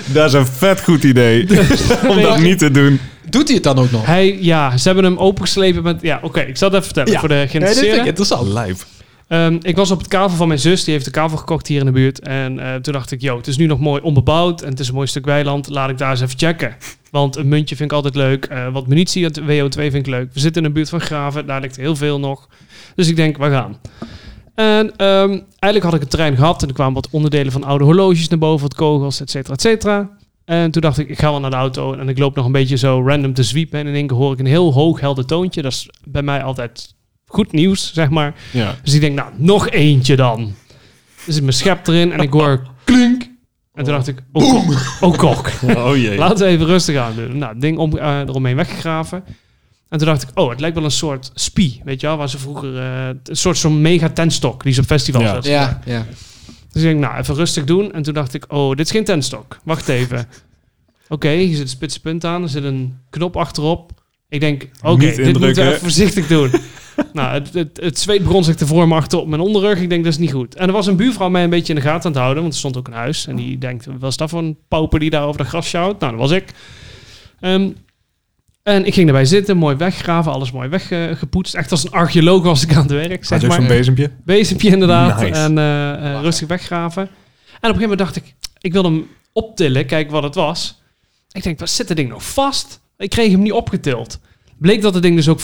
Dat is een vet goed idee. om dat niet te doen.
Doet hij het dan ook nog?
Hij, ja, ze hebben hem opengeslepen met... Ja, oké, ik zal het even vertellen
Ja.
voor de
Nee, dit vind ik
geïnteresseerden.
interessant.
Lijp.
Ehm, ik was op het kavel van mijn zus, die heeft de kavel gekocht hier in de buurt. En eh, toen dacht ik, yo, het is nu nog mooi onbebouwd en het is een mooi stuk weiland. Laat ik daar eens even checken. Want een muntje vind ik altijd leuk. eh, wat munitie uit WO2 vind ik leuk. We zitten in de buurt van Graven, daar ligt heel veel nog. Dus ik denk, we gaan. En ehm, eigenlijk had ik een trein gehad en er kwamen wat onderdelen van oude horloges naar boven, wat kogels, et cetera, et cetera. En toen dacht ik, ik ga wel naar de auto en ik loop nog een beetje zo random te zwiepen. En in één keer hoor ik een heel hoog helder toontje. Dat is bij mij altijd goed nieuws, zeg maar.
Ja.
Dus ik denk, nou, nog eentje dan. Dus ik mijn schep erin en ik hoor klink. En toen dacht ik, oh kok, oh kok.
Oh jee.
Laten we even rustig aan doen. Nou, het ding om, eh, eromheen weggegraven. En toen dacht ik, oh, het lijkt wel een soort spie, weet je wel? Waar ze vroeger, eh, een soort zo'n mega tentstok die ze op festivals
Ja.
hadden.
Ja, ja.
Dus ik denk, nou, even rustig doen. En toen dacht ik, oh, dit is geen tentstok. Wacht even. Oké, hier zit een spitse punt aan. Er zit een knop achterop. Ik denk, oké,
Niet
dit moeten
indrukken.
we even voorzichtig doen. nou, het, het, het zweet begon zich te vormen achter op mijn onderrug. Ik denk, dat is niet goed. En er was een buurvrouw mij een beetje in de gaten aan het houden. Want er stond ook een huis. En die denkt, wat is dat voor een pauper die daar over de gras sjouwt? Nou, dat was ik. Ehm, en ik ging daarbij zitten, mooi weggraven, alles mooi weggepoetst. Echt als een archeoloog was ik aan het werk,
Had
zeg
je ook
maar
zo'n bezempje?
bezempje inderdaad.
Nice.
En eh, eh,
Wauw.
rustig weggraven. En op een gegeven moment dacht ik, ik wil hem optillen, kijken wat het was. Ik denk, wat zit dat ding nog vast? Ik kreeg hem niet opgetild. Bleek dat het ding dus ook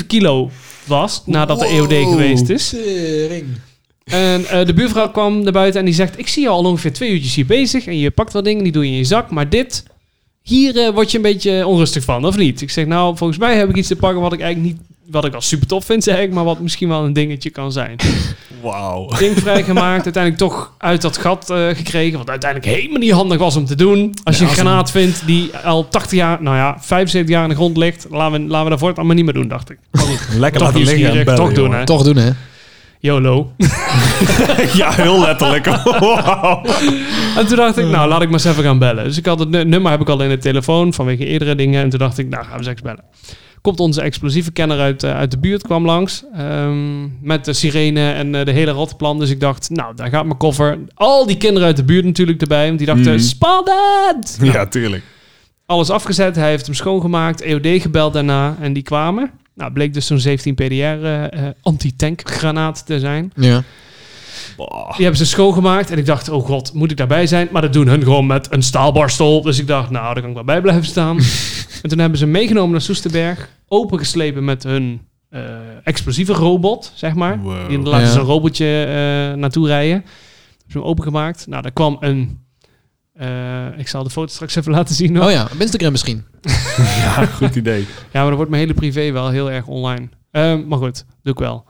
14,7 kilo was, nadat de EOD geweest is.
Tering.
En eh, de buurvrouw kwam naar buiten en die zegt, ik zie je al ongeveer twee uurtjes hier bezig. En je pakt wat dingen, die doe je in je zak. Maar dit, hier eh, word je een beetje onrustig van, of niet? Ik zeg, nou, volgens mij heb ik iets te pakken wat ik eigenlijk niet... Wat ik al super tof vind, zeg ik, maar wat misschien wel een dingetje kan zijn
Wauw.
ding vrijgemaakt. Uiteindelijk toch uit dat gat eh, gekregen. Wat uiteindelijk helemaal niet handig was om te doen. Als je
Ja,
een
als
granaat vindt die al 80 jaar, nou ja, 75 jaar in de grond ligt. Laten we, laten we dat voortaan maar niet meer doen, dacht ik. Maar goed,
Lekker
toch
laten liggen en
nieuwsgierig,
bellen,
toch doen hè.
jongen.
Toch doen, hè?
YOLO.
Ja, heel letterlijk. Wauw.
En toen dacht ik, nou laat ik maar eens even gaan bellen. Dus ik had het nu- nummer heb ik al in de telefoon vanwege eerdere dingen. En toen dacht ik, nou gaan we eens even bellen. Komt onze explosieve kenner uit, eh, uit de buurt, kwam langs. ehm, met de sirene en eh, de hele rotplan. Dus ik dacht, nou daar gaat mijn koffer. Al die kinderen uit de buurt natuurlijk erbij. Want die dachten,
Mhm.
spannend!
Ja, tuurlijk.
Alles afgezet, hij heeft hem schoongemaakt. EOD gebeld daarna en die kwamen. Nou, bleek dus zo'n 17 PDR eh, eh, anti-tankgranaat te zijn.
Ja.
Die hebben ze schoongemaakt. En ik dacht, oh god, moet ik daarbij zijn? Maar dat doen hun gewoon met een staalbarstel. Dus ik dacht, nou, daar kan ik wel bij blijven staan. en toen hebben ze hem meegenomen naar Soesterberg. Opengeslepen met hun eh, explosieve robot, zeg maar.
Wow.
Die laten
Ja.
ze een robotje eh, naartoe rijden. Hebben ze hem opengemaakt. Nou, daar kwam een... eh, ik zal de foto straks even laten zien. hoor.
Oh ja, op Instagram misschien.
Ja, goed idee.
Ja, maar dan wordt mijn hele privé wel heel erg online. Ehm, maar goed, doe ik wel.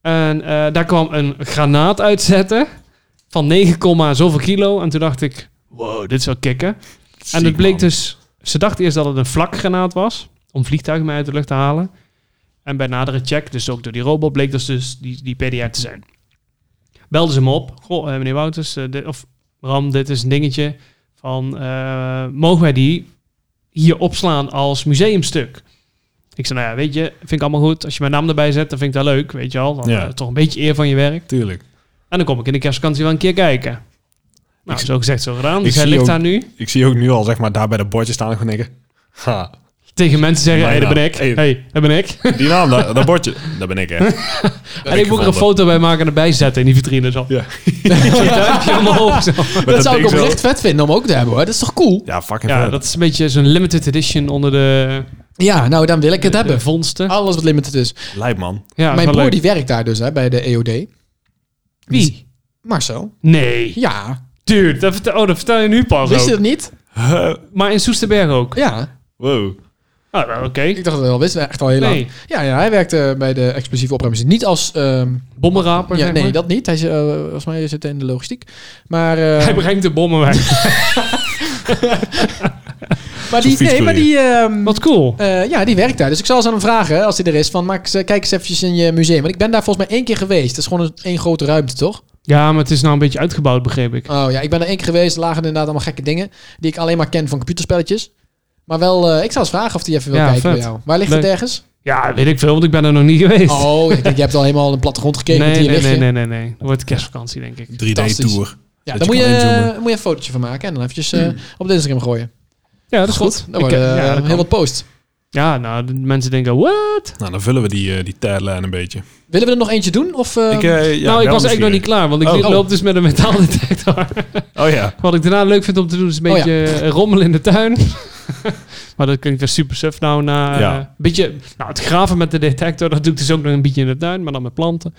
En eh, daar kwam een granaat uitzetten van 9, zoveel kilo. En toen dacht ik, wow, dit zou kicken. en het
Ziek,
bleek
man.
dus, ze dacht eerst dat het een vlakgranaat was, om vliegtuigen mee uit de lucht te halen. En bij nadere check, dus ook door die robot, bleek dus, dus die, die PDR te zijn. Belden ze me op, goh, eh, meneer Wouters, eh, dit- of Ram, dit is een dingetje van, eh, mogen wij die hier opslaan als museumstuk? Ik zei, nou ja, weet je, vind ik allemaal goed. Als je mijn naam erbij zet, dan vind ik dat leuk, weet je al. Dan,
Ja.
eh, toch een beetje eer van je werk.
Tuurlijk.
En dan kom ik in de kerstvakantie wel een keer kijken. Nou, zo gezegd, zo gedaan. Dus
ik
hij
zie
ligt
ook-
daar nu.
Ik zie ook nu al, zeg maar, daar bij de bordjes staan en gewoon denken... Ha,
Tegen mensen zeggen, hé, hey,
Mijn
daar ben
naam.
ik.
Hey.
hey, daar ben ik.
die naam, dat, dat bordje. Dat ben ik, hè.
en ik moet er een foto bij maken en erbij zetten in die vitrine. Zo.
Ja.
Zo'n duimpje omhoog, zo.
Dat, zou ik
ding zo-
oprecht vet vinden om ook te hebben, hoor. Dat is toch cool?
Ja, fucking
Ja,
vet.
dat is een beetje zo'n limited edition onder de,
Ja, nou, dan wil ik het
de
hebben.
vondsten.
Alles wat limited is.
Lijp, man.
Ja,
Mijn
wel
broer
leuk.
die werkt daar dus, hè, bij de EOD.
Wie?
Marcel.
Nee.
Ja.
Dude, dat vertel, oh, dat vertel je nu pas
Wist je
ook.
dat niet?
Huh,
Maar in Soesterberg ook?
Ja.
wow.
Ah, nou, oké.
Ik dacht dat we dat al wisten, echt al heel
Nee.
lang. Ja, ja, hij werkte bij de explosieve opruimers. Niet als... ehm,
Bommenraper,
ja,
zeg
nee,
maar.
dat niet. Hij, zit, eh, volgens mij zit hij in de logistiek. Maar, eh,
Hij brengt de bommen weg.
maar
Zo'n
die... Nee, maar die... ehm,
Wat cool.
Eh, ja, die werkt daar. Dus ik zal eens aan hem vragen, hè, als hij er is, van maak eens, eh, kijk eens eventjes in je museum. Want ik ben daar volgens mij één keer geweest. Dat is gewoon een, één grote ruimte, toch?
Ja, maar het is nou een beetje uitgebouwd, begreep ik.
Oh ja, ik ben er één keer geweest. Er lagen inderdaad allemaal gekke dingen die ik alleen maar ken van computerspelletjes. Maar wel, eh, ik zal eens vragen of hij even wil
Ja,
kijken
vet.
bij jou. Waar ligt
Leuk.
het ergens?
Ja, weet ik veel, want ik ben er nog niet geweest.
Oh, ja, kijk, je hebt al helemaal een plattegrond gekeken met
nee,
hier
nee,
liggen.
nee, nee, nee, nee. Dat wordt kerstvakantie, denk ik.
3D-tour.
Ja,
Dat
daar
je
moet je,
kan inzoomen.
eh, moet je een fotootje van maken en dan eventjes eh, op de Instagram gooien.
Ja, dat
Dat
is goed.
Dan
Ik,
worden
eh, ja,
ja,
dat kan.
heel wat post.
Ja, nou, de mensen denken, what?
Nou, dan vullen we die, eh, die tagline een beetje.
Willen we er nog eentje doen? Of, eh,
ik, eh, ja,
Ehm, nou, ik
ben
was
wel
echt nog niet
nieuwsgierig.
klaar, want ik
Oh.
li-
Oh.
loop dus met een metaaldetector.
Oh ja.
Wat ik daarna leuk vind om te doen, is een
Oh, ja.
beetje eh, rommelen in de tuin. maar dat klinkt weer super suf nou. Na,
Ja.
eh, beetje, nou, het graven met de detector, dat doe ik dus ook nog een beetje in de tuin, maar dan met planten.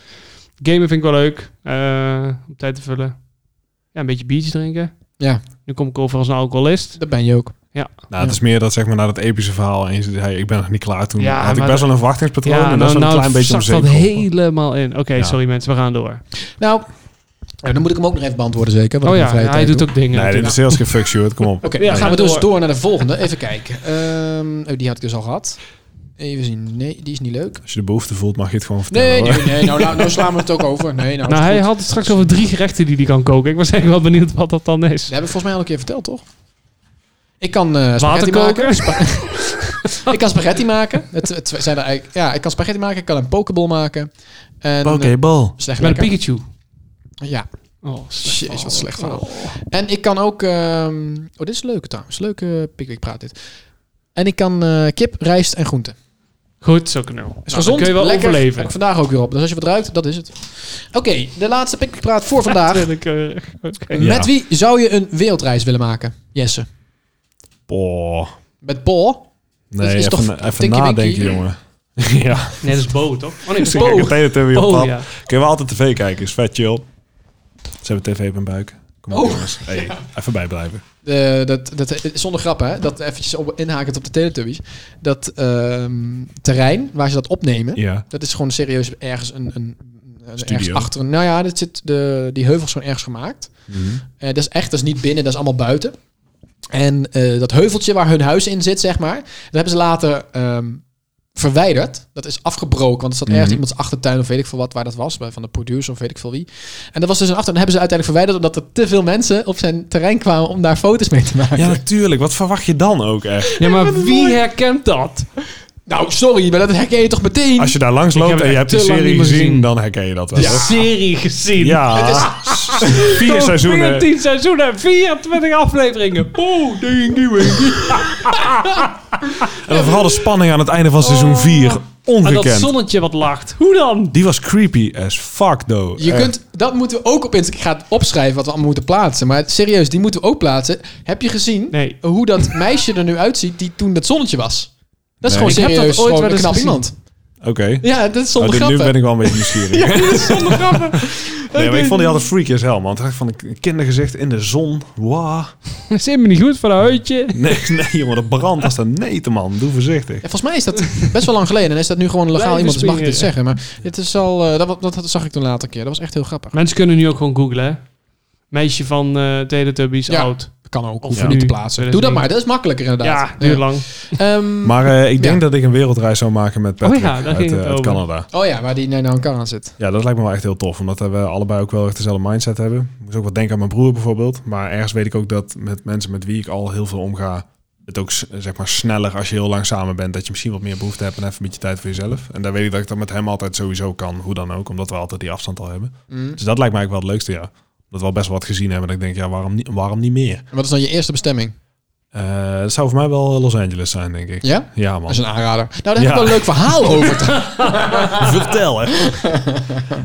Gamen vind ik wel leuk, eh, om tijd te vullen. Ja, een beetje biertjes drinken.
Ja.
Nu kom ik over als een alcoholist.
Dat ben je ook.
Nou, het is meer dat zeg maar na dat epische verhaal eens zei, ik ben nog niet klaar toen.
Ja,
had ik
maar
best
dat-
wel een verwachtingspatroon en dat
nou,
is wel een
nou
klein beetje om
zakt
zeep
dat
geholpen.
helemaal in. Oké,
Ja.
sorry mensen, we gaan door.
Nou, eh, dan moet ik hem ook nog even beantwoorden zeker. want
oh
ik in
ja,
vrije
hij
tijd
doet
doe.
ook dingen.
Nee, dit
natuurlijk.
is heel geen fuck shoot, kom op.
Oké,
Ja,
dan gaan
ga
we dus
door.
door naar de volgende. Even kijken. Ehm, oh, die had ik dus al gehad. Even zien. Nee, die is niet leuk.
Als je de behoefte voelt, mag je het gewoon vertellen.
Nee,
hoor.
nee, nee. Nou, nou, nou slaan we het ook over. Nee, nou,
Nou,
is
hij
goed.
had het straks over drie gerechten die hij kan koken. Ik was echt wel benieuwd wat dat dan is.
Dat heb ik volgens mij al een keer verteld, toch? Ik kan eh spaghetti
Waterkoker?
maken. Spa- ik kan spaghetti maken. Het, het zijn er eigenlijk, ja, ik kan spaghetti maken. Ik kan een pokeball maken. En, eh,
Pokeball.
slecht
Met een
lekker.
Pikachu.
Ja,
Oh,
Jeez, wat slecht verhaal.
Oh.
En ik kan ook... ehm, oh, dit is leuk trouwens. Leuke pikwik praat dit. En ik kan eh, kip, rijst en groenten.
Goed, zo kunnen we. Nou,
Is
dan
gezond,
kun je wel
lekker. Heb
overleven.
ik vandaag ook weer op. Dus als je wat ruikt, dat is het. Oké, de laatste pikwik praat voor vandaag.
Willekeurig. Oké.
Ja.
Met wie zou je een wereldreis willen maken, Jesse?
Oh.
Met Paul?
Nee,
Dat is toch
even, even
Tinky
nadenken,
Winky?
jongen. ja,
Nee, dat is Bo, toch? Oh nee, dat is
ze kijken het hele tijd weer op
Oh
pad.
ja.
Kunnen we altijd tv kijken, is vet chill. Ze hebben tv op hun buik. Kom op
Oh.
jongens. Hey, even bijblijven.
Eh, dat, dat, zonder grap, hè? Dat eventjes op, inhakend op de Teletubbies. Dat ehm, terrein waar ze dat opnemen,
Ja.
dat is gewoon serieus ergens een. een een-
Studio.
Ergens achter. een- Nou ja, dat zit de, die heuvels gewoon ergens gemaakt.
Mhm.
Eh, dat is echt, dat is niet binnen, dat is allemaal buiten. En eh, dat heuveltje waar hun huis in zit, zeg maar, dat hebben ze later ehm, verwijderd. Dat is afgebroken, want er zat ergens
Mhm.
iemands achtertuin of weet ik veel wat waar dat was, bij- van de producer of weet ik veel wie. En dat was dus een achtertuin. Dat hebben ze uiteindelijk verwijderd omdat er te veel mensen op zijn terrein kwamen om daar foto's mee te maken.
Ja, natuurlijk. Wat verwacht je dan ook echt?
Ja, maar wie herkent dat?
Nou, sorry, maar dat herken je toch meteen?
Als je daar langs
Ik
loopt
heb
en je hebt
het
de
te lang
serie
niet meer
gezien,
gezien.
dan herken je dat wel.
De
hoor.
serie gezien.
Ja,
Oh,
vier seizoenen.
14 seizoenen, 24 afleveringen. Boe, ding, ding, ding.
En dan vooral de spanning aan het einde van seizoen 4.
En Oh. dat
Ongekend.
zonnetje wat lacht. Hoe dan?
Die was creepy as fuck, though. Eh,
Je
Echt.
kunt, dat moeten we ook op Instagram. Ik ga het opschrijven wat we allemaal moeten plaatsen. Maar serieus, die moeten we ook plaatsen. Heb je gezien
Nee.
hoe dat meisje er nu uitziet die toen dat zonnetje was? Dat is
Nee.
gewoon
Ik heb dat
serieus
ooit
gewoon
wel
een
eens
knap
gezien.
iemand.
Oké.
Ja, dat is
Oh,
zonder
dit- nu
grappen.
ben ik wel een beetje nieuwsgierig.
Zonder grappen.
Nee, maar ik vond die altijd freaky as hell, man. Het had van een kindergezicht in de zon. Wow.
Zit me niet goed van een huidje.
Nee, nee, jongen, dat brandt als een neten, man. Doe voorzichtig.
Ja, volgens mij is dat best wel lang geleden. En is dat nu gewoon legaal
Blijven
iemand, dus mag ik dit
springen.
zeggen. Maar dit is al, eh, dat, wa- dat, dat zag ik toen later een keer. Dat was echt heel grappig.
Mensen kunnen nu ook gewoon googlen, hè? Meisje van eh Teletubbies,
Ja.
oud.
Kan ook, hoef
Of
je niet te
nu.
plaatsen. Doe dat maar, dat is makkelijker inderdaad.
Ja, duurt lang.
Ehm,
Maar eh, ik denk
Ja.
dat ik een wereldreis zou maken met Patrick
Oh ja, daar
uit,
ging
eh,
het
uit
over.
Canada.
oh ja, waar die nou aan elkaar aan zit.
Ja, dat lijkt me wel echt heel tof. Omdat we allebei ook wel echt dezelfde mindset hebben. Ik moest ook wat denken aan mijn broer bijvoorbeeld. Maar ergens weet ik ook dat met mensen met wie ik al heel veel omga... het ook s- zeg maar sneller als je heel lang samen bent... dat je misschien wat meer behoefte hebt en even een beetje tijd voor jezelf. En daar weet ik dat ik dat met hem altijd sowieso kan. Hoe dan ook, omdat we altijd die afstand al hebben.
Mm.
Dus dat lijkt mij eigenlijk wel het leukste, ja. Dat we al best wel wat gezien hebben. Dat ik denk, ja, waarom niet, waarom niet meer?
En wat is dan je eerste bestemming?
Eh, dat zou voor mij wel Los Angeles zijn, denk ik.
Ja?
Ja, man.
Dat is een aanrader. Nou, daar heb
Ja.
ik wel een leuk verhaal over.
Vertel, hè.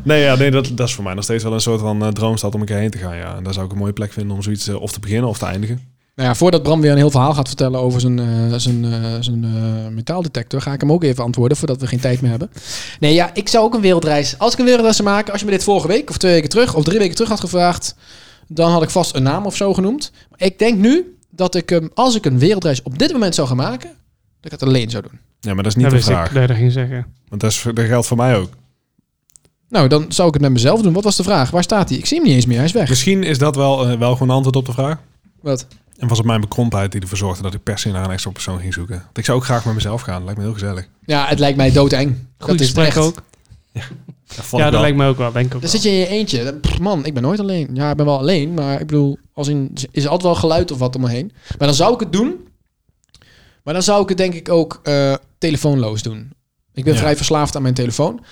nee, ja, nee dat, dat is voor mij nog steeds wel een soort van eh, droomstad om een keer heen te gaan. Ja. En daar zou ik een mooie plek vinden om zoiets eh, of te beginnen of te eindigen.
Nou ja, voordat Bram weer een heel verhaal gaat vertellen over zijn, eh, zijn, eh, zijn eh, metaaldetector, ga ik hem ook even antwoorden voordat we geen tijd meer hebben. Nee, ja, ik zou ook een wereldreis. Als ik een wereldreis zou maken, als je me dit vorige week of twee weken terug of drie weken terug had gevraagd, dan had ik vast een naam of zo genoemd. Maar ik denk nu dat ik hem, als ik een wereldreis op dit moment zou gaan maken, dat ik het alleen zou doen.
Ja, maar dat is niet
dat
de vraag.
ik. Nee, dat ging zeggen.
Want dat, is, dat geldt voor mij ook.
Nou, dan zou ik het met mezelf doen. Wat was de vraag? Waar staat hij? Ik zie hem niet eens meer. Hij is weg.
Misschien is dat wel, eh, wel gewoon een antwoord op de vraag.
Wat?
En was het mijn bekrompenheid die ervoor zorgde dat ik per se naar een extra persoon ging zoeken. Want ik zou ook graag met mezelf gaan. Dat lijkt me heel gezellig.
Ja, het lijkt mij doodeng.
Goed
dat is het
gesprek
echt.
ook.
vond
Ja,
ik
dat
wel.
lijkt me ook wel. Denk ik ook
Dan
wel.
zit je in je eentje. Dan- pff, Man, ik ben nooit alleen. Ja, ik ben wel alleen, maar ik bedoel, als in, is er altijd wel geluid of wat om me heen. Maar dan zou ik het doen. Maar dan zou ik het denk ik ook eh, telefoonloos doen. Ik ben
Ja.
vrij verslaafd aan mijn telefoon.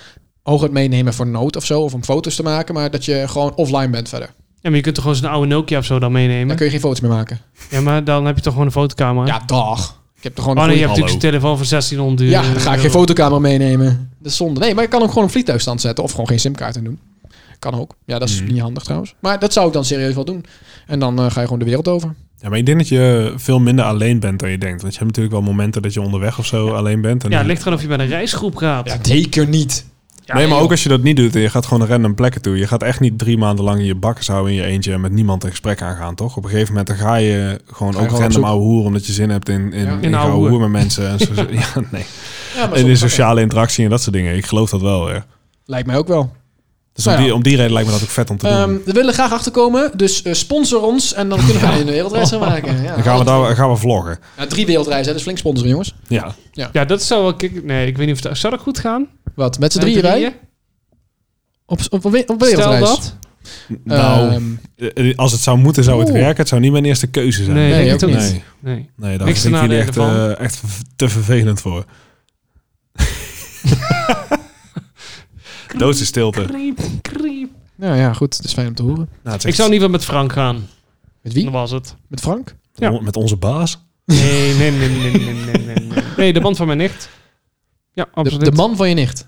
Hooguit meenemen voor nood of zo, of om foto's te maken. Maar dat je gewoon offline bent verder.
maar je kunt toch gewoon zo'n oude Nokia of zo dan meenemen?
Dan kun je geen foto's meer maken.
Ja, maar dan heb je toch gewoon een fotocamera?
Ja, dag. Ik heb er gewoon
oh
een
nee, je
goeie-
hebt natuurlijk zo'n telefoon voor 1600 euro.
Ja, dan ga ik geen fotocamera meenemen. Eh, Dat is zonde. Nee, maar ik kan hem gewoon op vliegtuigstand zetten. Of gewoon geen simkaart in doen. Kan ook. Ja, dat is
Mhm.
niet handig trouwens. Maar dat zou ik dan serieus wel doen. En dan eh, ga je gewoon de wereld over.
Ja, maar ik denk dat je veel minder alleen bent dan je denkt. Want je hebt natuurlijk wel momenten dat je onderweg of zo alleen bent. En
Ja,
dan-
het ligt eraan of je bij een reisgroep gaat.
Ja, zeker niet.
nee, maar
joh.
ook als je dat niet doet en je gaat gewoon naar random plekken toe. Je gaat echt niet drie maanden lang in je bakkers houden in je eentje en met niemand een gesprek aangaan, toch? Op een gegeven moment dan ga je gewoon
Ga je
ook
gewoon op
random
zoek.
ouwe hoer omdat je zin hebt in, in,
Ja.
in,
In ouwe
ouwe hoer
hoer.
met mensen. En, zo, ja, nee.
Ja, maar
en
zo-
in sociale interactie en dat soort dingen. Ik geloof dat wel, ja.
Lijkt mij ook wel.
Dus
Nou
om,
ja.
die, om die reden lijkt me dat ook vet om te
Ehm,
doen.
we willen graag achterkomen, dus eh, sponsor ons en dan kunnen we een wereldreis gaan maken. Ja,
Dan gaan we, daar, gaan we vloggen.
Nou, drie wereldreizen, dus flink sponsoren jongens.
Ja.
Ja, dat zou wel... kick- Nee, ik weet niet of dat... Zou dat goed gaan?
Wat, met z'n
Met
drieën
drieën?
wij? Op, op, op, op
Stel
wereldreis?
dat.
Nou,
Ehm,
eh, als het zou moeten, zou het
Oeh.
werken. Het zou niet mijn eerste keuze zijn.
Nee,
Nee,
ik denk
ook
het ook
niet.
niet.
Nee,
Nee.
nee daar
Niks
vind
te
ik jullie echt,
nadelen
eh, echt v- te vervelend voor. Doodse stilte.
Kriep, kriep.
nou ja, goed, dat is fijn om te horen.
Nou, het is
Ik zou in ieder geval met Frank gaan.
Met wie?
Dat was het.
Met Frank?
echt- Met onze baas?
Nee, nee, nee, nee, nee, nee, nee, nee. Nee, de band van mijn nicht. Ja,
De,
absoluut.
de man van je nicht?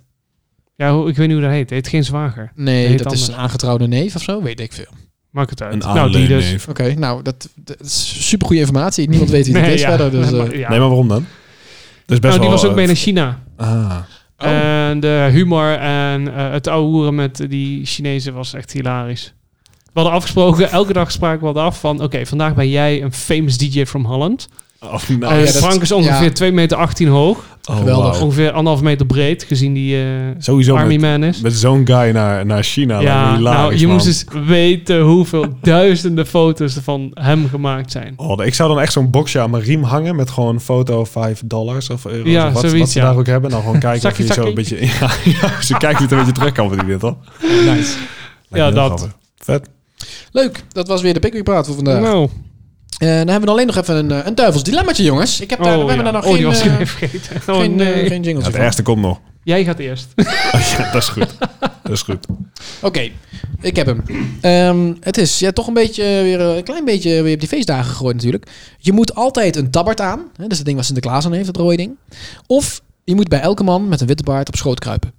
Ja, hoe- ik weet niet hoe dat heet. Het heet geen zwager.
Nee,
Heet
dat
anders.
is een aangetrouwde neef of zo, weet ik veel.
Maakt het uit.
Een
nou, die dus.
aanleunneef.
Oké, nou, dat, dat is supergoeie informatie. Niemand weet wie het
Nee,
is
ja.
verder, dus... eh,
Maar- ja.
Nee, maar waarom dan? Dat is best
nou, die
wel,
was ook
eh,
mee naar China.
Ah,
oh,
En de humor en eh, het ouwe hoeren met die Chinezen was echt hilarisch. We hadden afgesproken, elke dag spraken we hadden af van... Oké, vandaag ben jij een famous DJ from Holland.
oh, nou,
ja,
En
dat-
Frank is ongeveer
ja.
2 meter 18 hoog.
oh,
geweldig.
wauw.
Ongeveer anderhalf meter breed, gezien die eh,
Sowieso
Army
met,
Man is.
met zo'n guy naar, naar China. lijkt me
ja,
hilarisch,
nou, je
man.
moest eens weten hoeveel duizenden foto's er van hem gemaakt zijn.
Oh, ik zou dan echt zo'n boxje aan mijn riem hangen met gewoon een foto 5 dollars of euro's
Ja,
of wat,
zoiets,
wat ze
ja.
daar ook hebben. Dan gewoon kijken of
Zakkie,
je zo een
zakkie.
beetje... Ja, ja, ze kijken of je het een beetje terug kan met die dit, hoor.
nice.
Lijkt me heel
dat.
grappig. Vet.
Leuk, dat was weer de Pickwick Praat voor vandaag.
Nou,
Eh, dan hebben we alleen nog even een, eh, een duivels dilemmaatje, jongens. Ik heb daar, we hebben daar nog
oh,
geen,
die was ik
eh,
even vergeten. Oh,
geen, eh,
nee.
geen jingletje
Ja, de
van.
eerste komt nog.
Jij gaat eerst.
Ja, dat is goed. Dat is goed.
Oké, ik heb hem. Ehm, het is ja, toch een beetje eh, weer eh, een klein beetje weer op die feestdagen gegooid natuurlijk. Je moet altijd een tabbert aan. Hè, dat is het ding wat Sinterklaas aan heeft, dat rode ding. Of je moet bij elke man met een witte baard op schoot kruipen.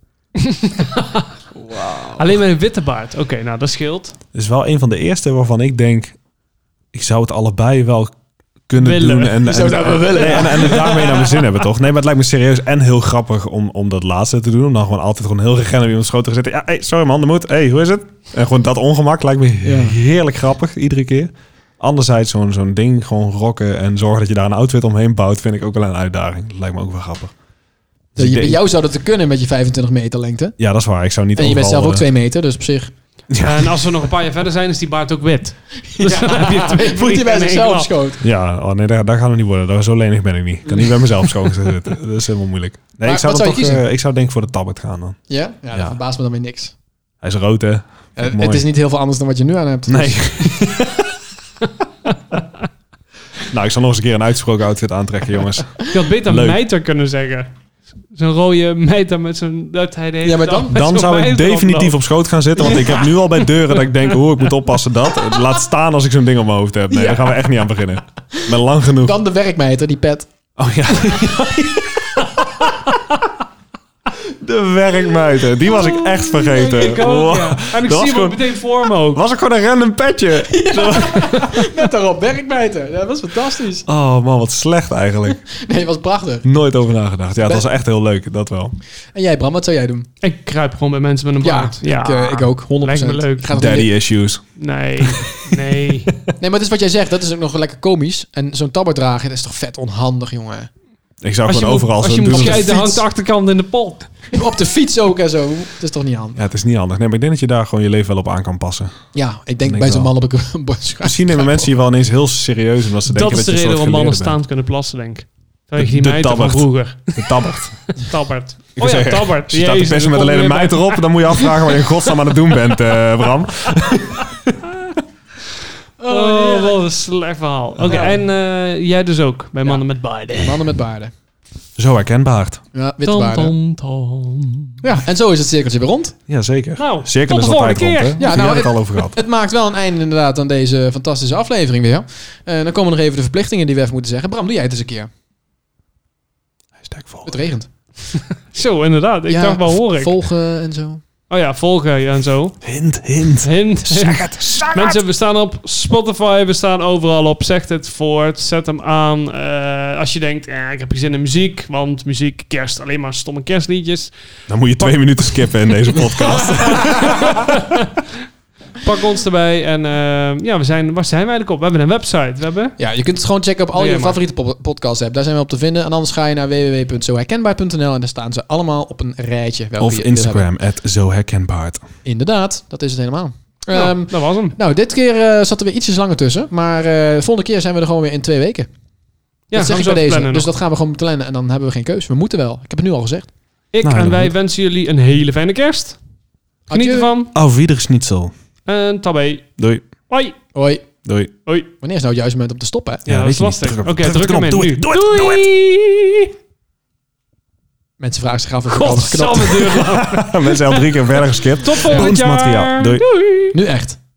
Alleen met een witte baard. Oké, nou, dat scheelt.
Het is wel een van de eerste waarvan ik denk... Ik zou het allebei wel kunnen
Willen.
doen. En,
Je zou
en-
het wel willen.
Nee, en, en het daarmee naar mijn zin hebben, toch? Nee, maar het lijkt me serieus en heel grappig om, om dat laatste te doen. Om dan gewoon altijd gewoon heel regen op iemands schoot te gaan zitten. Ja, hey, sorry man, dat moet. hey, hoe is het? En gewoon dat ongemak lijkt me
Ja.
heerlijk grappig iedere keer. Anderzijds zo'n zo'n ding gewoon rocken en zorgen dat je daar een outfit omheen bouwt... vind ik ook wel een uitdaging. Dat lijkt me ook wel grappig. Dus
Dus
ik
je, bij
denk-
jou zou dat te kunnen met je 25 meter lengte.
Ja, dat is waar. Ik zou niet
En je bent
overal,
zelf ook
eh,
2 meter, dus op zich
En als we nog een paar jaar verder zijn, is die baard ook wit. Dus dan heb je twee
voelt je
vliegen
bij
in één
zichzelf op
klap.
schoot.
Ja, oh nee, daar, daar gaan we niet worden. Daar, zo lenig ben ik niet. Ik kan niet bij mezelf schoon gaan zitten. Dat is helemaal moeilijk. Nee,
Maar
ik zou,
wat
dan
zou je
toch,
kiezen?
eh, ik zou denk ik voor de tablet gaan dan.
Ja? Ja, dat
Ja.
verbaast me dan weer niks.
Hij is rood, hè?
Eh,
Mooi.
het is niet heel veel anders dan wat je nu aan hebt. dus-
Nee. nou, ik zal nog eens een keer een uitgesproken outfit aantrekken, jongens.
Je had beter
Leuk.
mijter kunnen zeggen. Zo'n rode mijter met zo'n... Dat hij de hele
Ja, maar
dag
dan-
met
Dan
zo'n
zou ik
mijter
definitief
rondloopt.
op schoot gaan zitten. Want ik heb nu al bij deuren dat ik denk, hoe ik moet oppassen dat. Laat staan als ik zo'n ding op mijn hoofd heb. Nee, daar gaan we echt niet aan beginnen. Ik ben lang genoeg.
Dan de werkmeter, die pet.
Oh ja. De werkmuiten. Die was ik echt vergeten.
Ik ook, ja.
Wow.
En ik
Dat was
zie hem
gewoon-
ook meteen voor me ook.
Was ik gewoon een random petje?
Met daarop, werkmeter. Dat was fantastisch.
Oh man, wat slecht eigenlijk.
Nee, dat was prachtig.
Nooit over nagedacht. Ja, het was echt heel leuk, dat wel.
En jij, Bram, wat zou jij doen?
Ik kruip gewoon bij mensen met een
Ja,
baard.
Ik, eh, ik ook, 100%.
Lijkt me leuk.
Ik ga dat
Daddy
niet-
issues.
Nee,
Nee,
nee.
maar het is wat jij zegt, dat is ook nog lekker komisch. En zo'n tabbert dragen, dat is toch vet onhandig, jongen.
Ik zou
Als je
gewoon
moet-
overal zo
Als je moet
doen.
scheiden,
Ja,
hangt de achterkant in de pol.
Op de fiets ook en zo. Dat is toch niet handig?
het is niet handig. Nee, maar ik denk dat je daar gewoon je leven wel op aan kan passen.
Ja, ik denk
Denk
bij zo'n
wel.
man op een bord schuif.
Misschien nemen mensen hier wel ineens heel serieus omdat ze
Dat
denken
is
dat,
de
je een
reden
soort
waarom mannen
geleerde bent.
staand kunnen plassen, denk ik. Dat je
De-
die
de
meiden van
tabbert.
vroeger.
Getabberd.
Tabbert.
Ik
Oh
wil
ja,
zeggen,
tabbert.
Als je staat te
Jezus,
pesten
dan
met
kom
alleen
je
een
weer
meid
bij-
erop, dan moet je afvragen wat je in godsnaam aan het doen bent, eh, Bram.
Oh, wat een slecht verhaal. Oké,
Ja.
en eh, jij dus ook, bij mannen met baarden.
Mannen met baarden.
Zo herkenbaar.
Ja, witte
Tom,
baarden.
tom, tom.
Ja, en zo is het cirkeltje weer rond.
Jazeker.
Nou,
Cirkel
tot
is
de
altijd
volgende
rond, hè? Ja,
keer.
nou,
nou, hebben het
het-
al over gehad.
Het maakt wel een einde inderdaad aan deze fantastische aflevering weer. Eh dan komen nog even de verplichtingen die we even moeten zeggen. Bram, doe jij het eens een keer.
Hashtag volgen.
Het regent.
Zo, inderdaad. Ik
Ja,
dacht wel, hoor ik.
Volgen en zo.
Oh ja, volgen en zo.
Hint, hint.
Hint, hint.
Zeg het, zeg het.
Mensen, we staan op Spotify, we staan overal op. Zeg het voort, zet hem aan. Eh, als je denkt, eh, ik heb geen zin in muziek, want muziek, kerst, alleen maar stomme kerstliedjes.
Dan moet je twee minuten skippen in deze podcast.
Pak ons erbij en eh, ja, we zijn, waar zijn we eigenlijk op? We hebben een website, we hebben...
Ja, je kunt het gewoon checken op al
Doe
je
jij maar.
favoriete po- podcast app. Daar zijn we op te vinden. En anders ga je naar www.zoherkenbaar.nl en daar staan ze allemaal op een rijtje. welke
Of
je wil hebben.
Instagram, at zo herkenbaar.
Inderdaad, dat is het helemaal. Ehm,
Nou,
nou,
dat was hem.
dit keer eh, zat er weer ietsjes langer tussen. Maar eh, de volgende keer zijn we er gewoon weer in twee weken.
Ja,
dat
gaan
zeg
we
ik bij
zo even
deze.
plannen
Dus
nog.
dat gaan we gewoon plannen en dan hebben we geen keus. We moeten wel. Ik heb het nu al gezegd.
Ik
Nou,
en
helemaal
wij
goed.
wensen jullie een hele fijne kerst. Geniet
Adieu.
ervan.
Auf Wiedersnitzel.
En tabé.
Doei.
Hoi.
Hoi.
Doei.
Hoi.
Wanneer is nou het juiste moment om te stoppen? hè?
Ja, dat
weet
is
je niet.
lastig.
Druk
Oké,
op- druk
druk
de
hem in.
knop. Doe
nu.
het, doe het, doe
Doei.
Mensen vragen zich af of ik alles knop.
Godsamme deur.
Mensen al drie keer verder geskipt.
Tot volgend jaar.
Bonusmateriaal. Doei.
Doei.
Nu echt.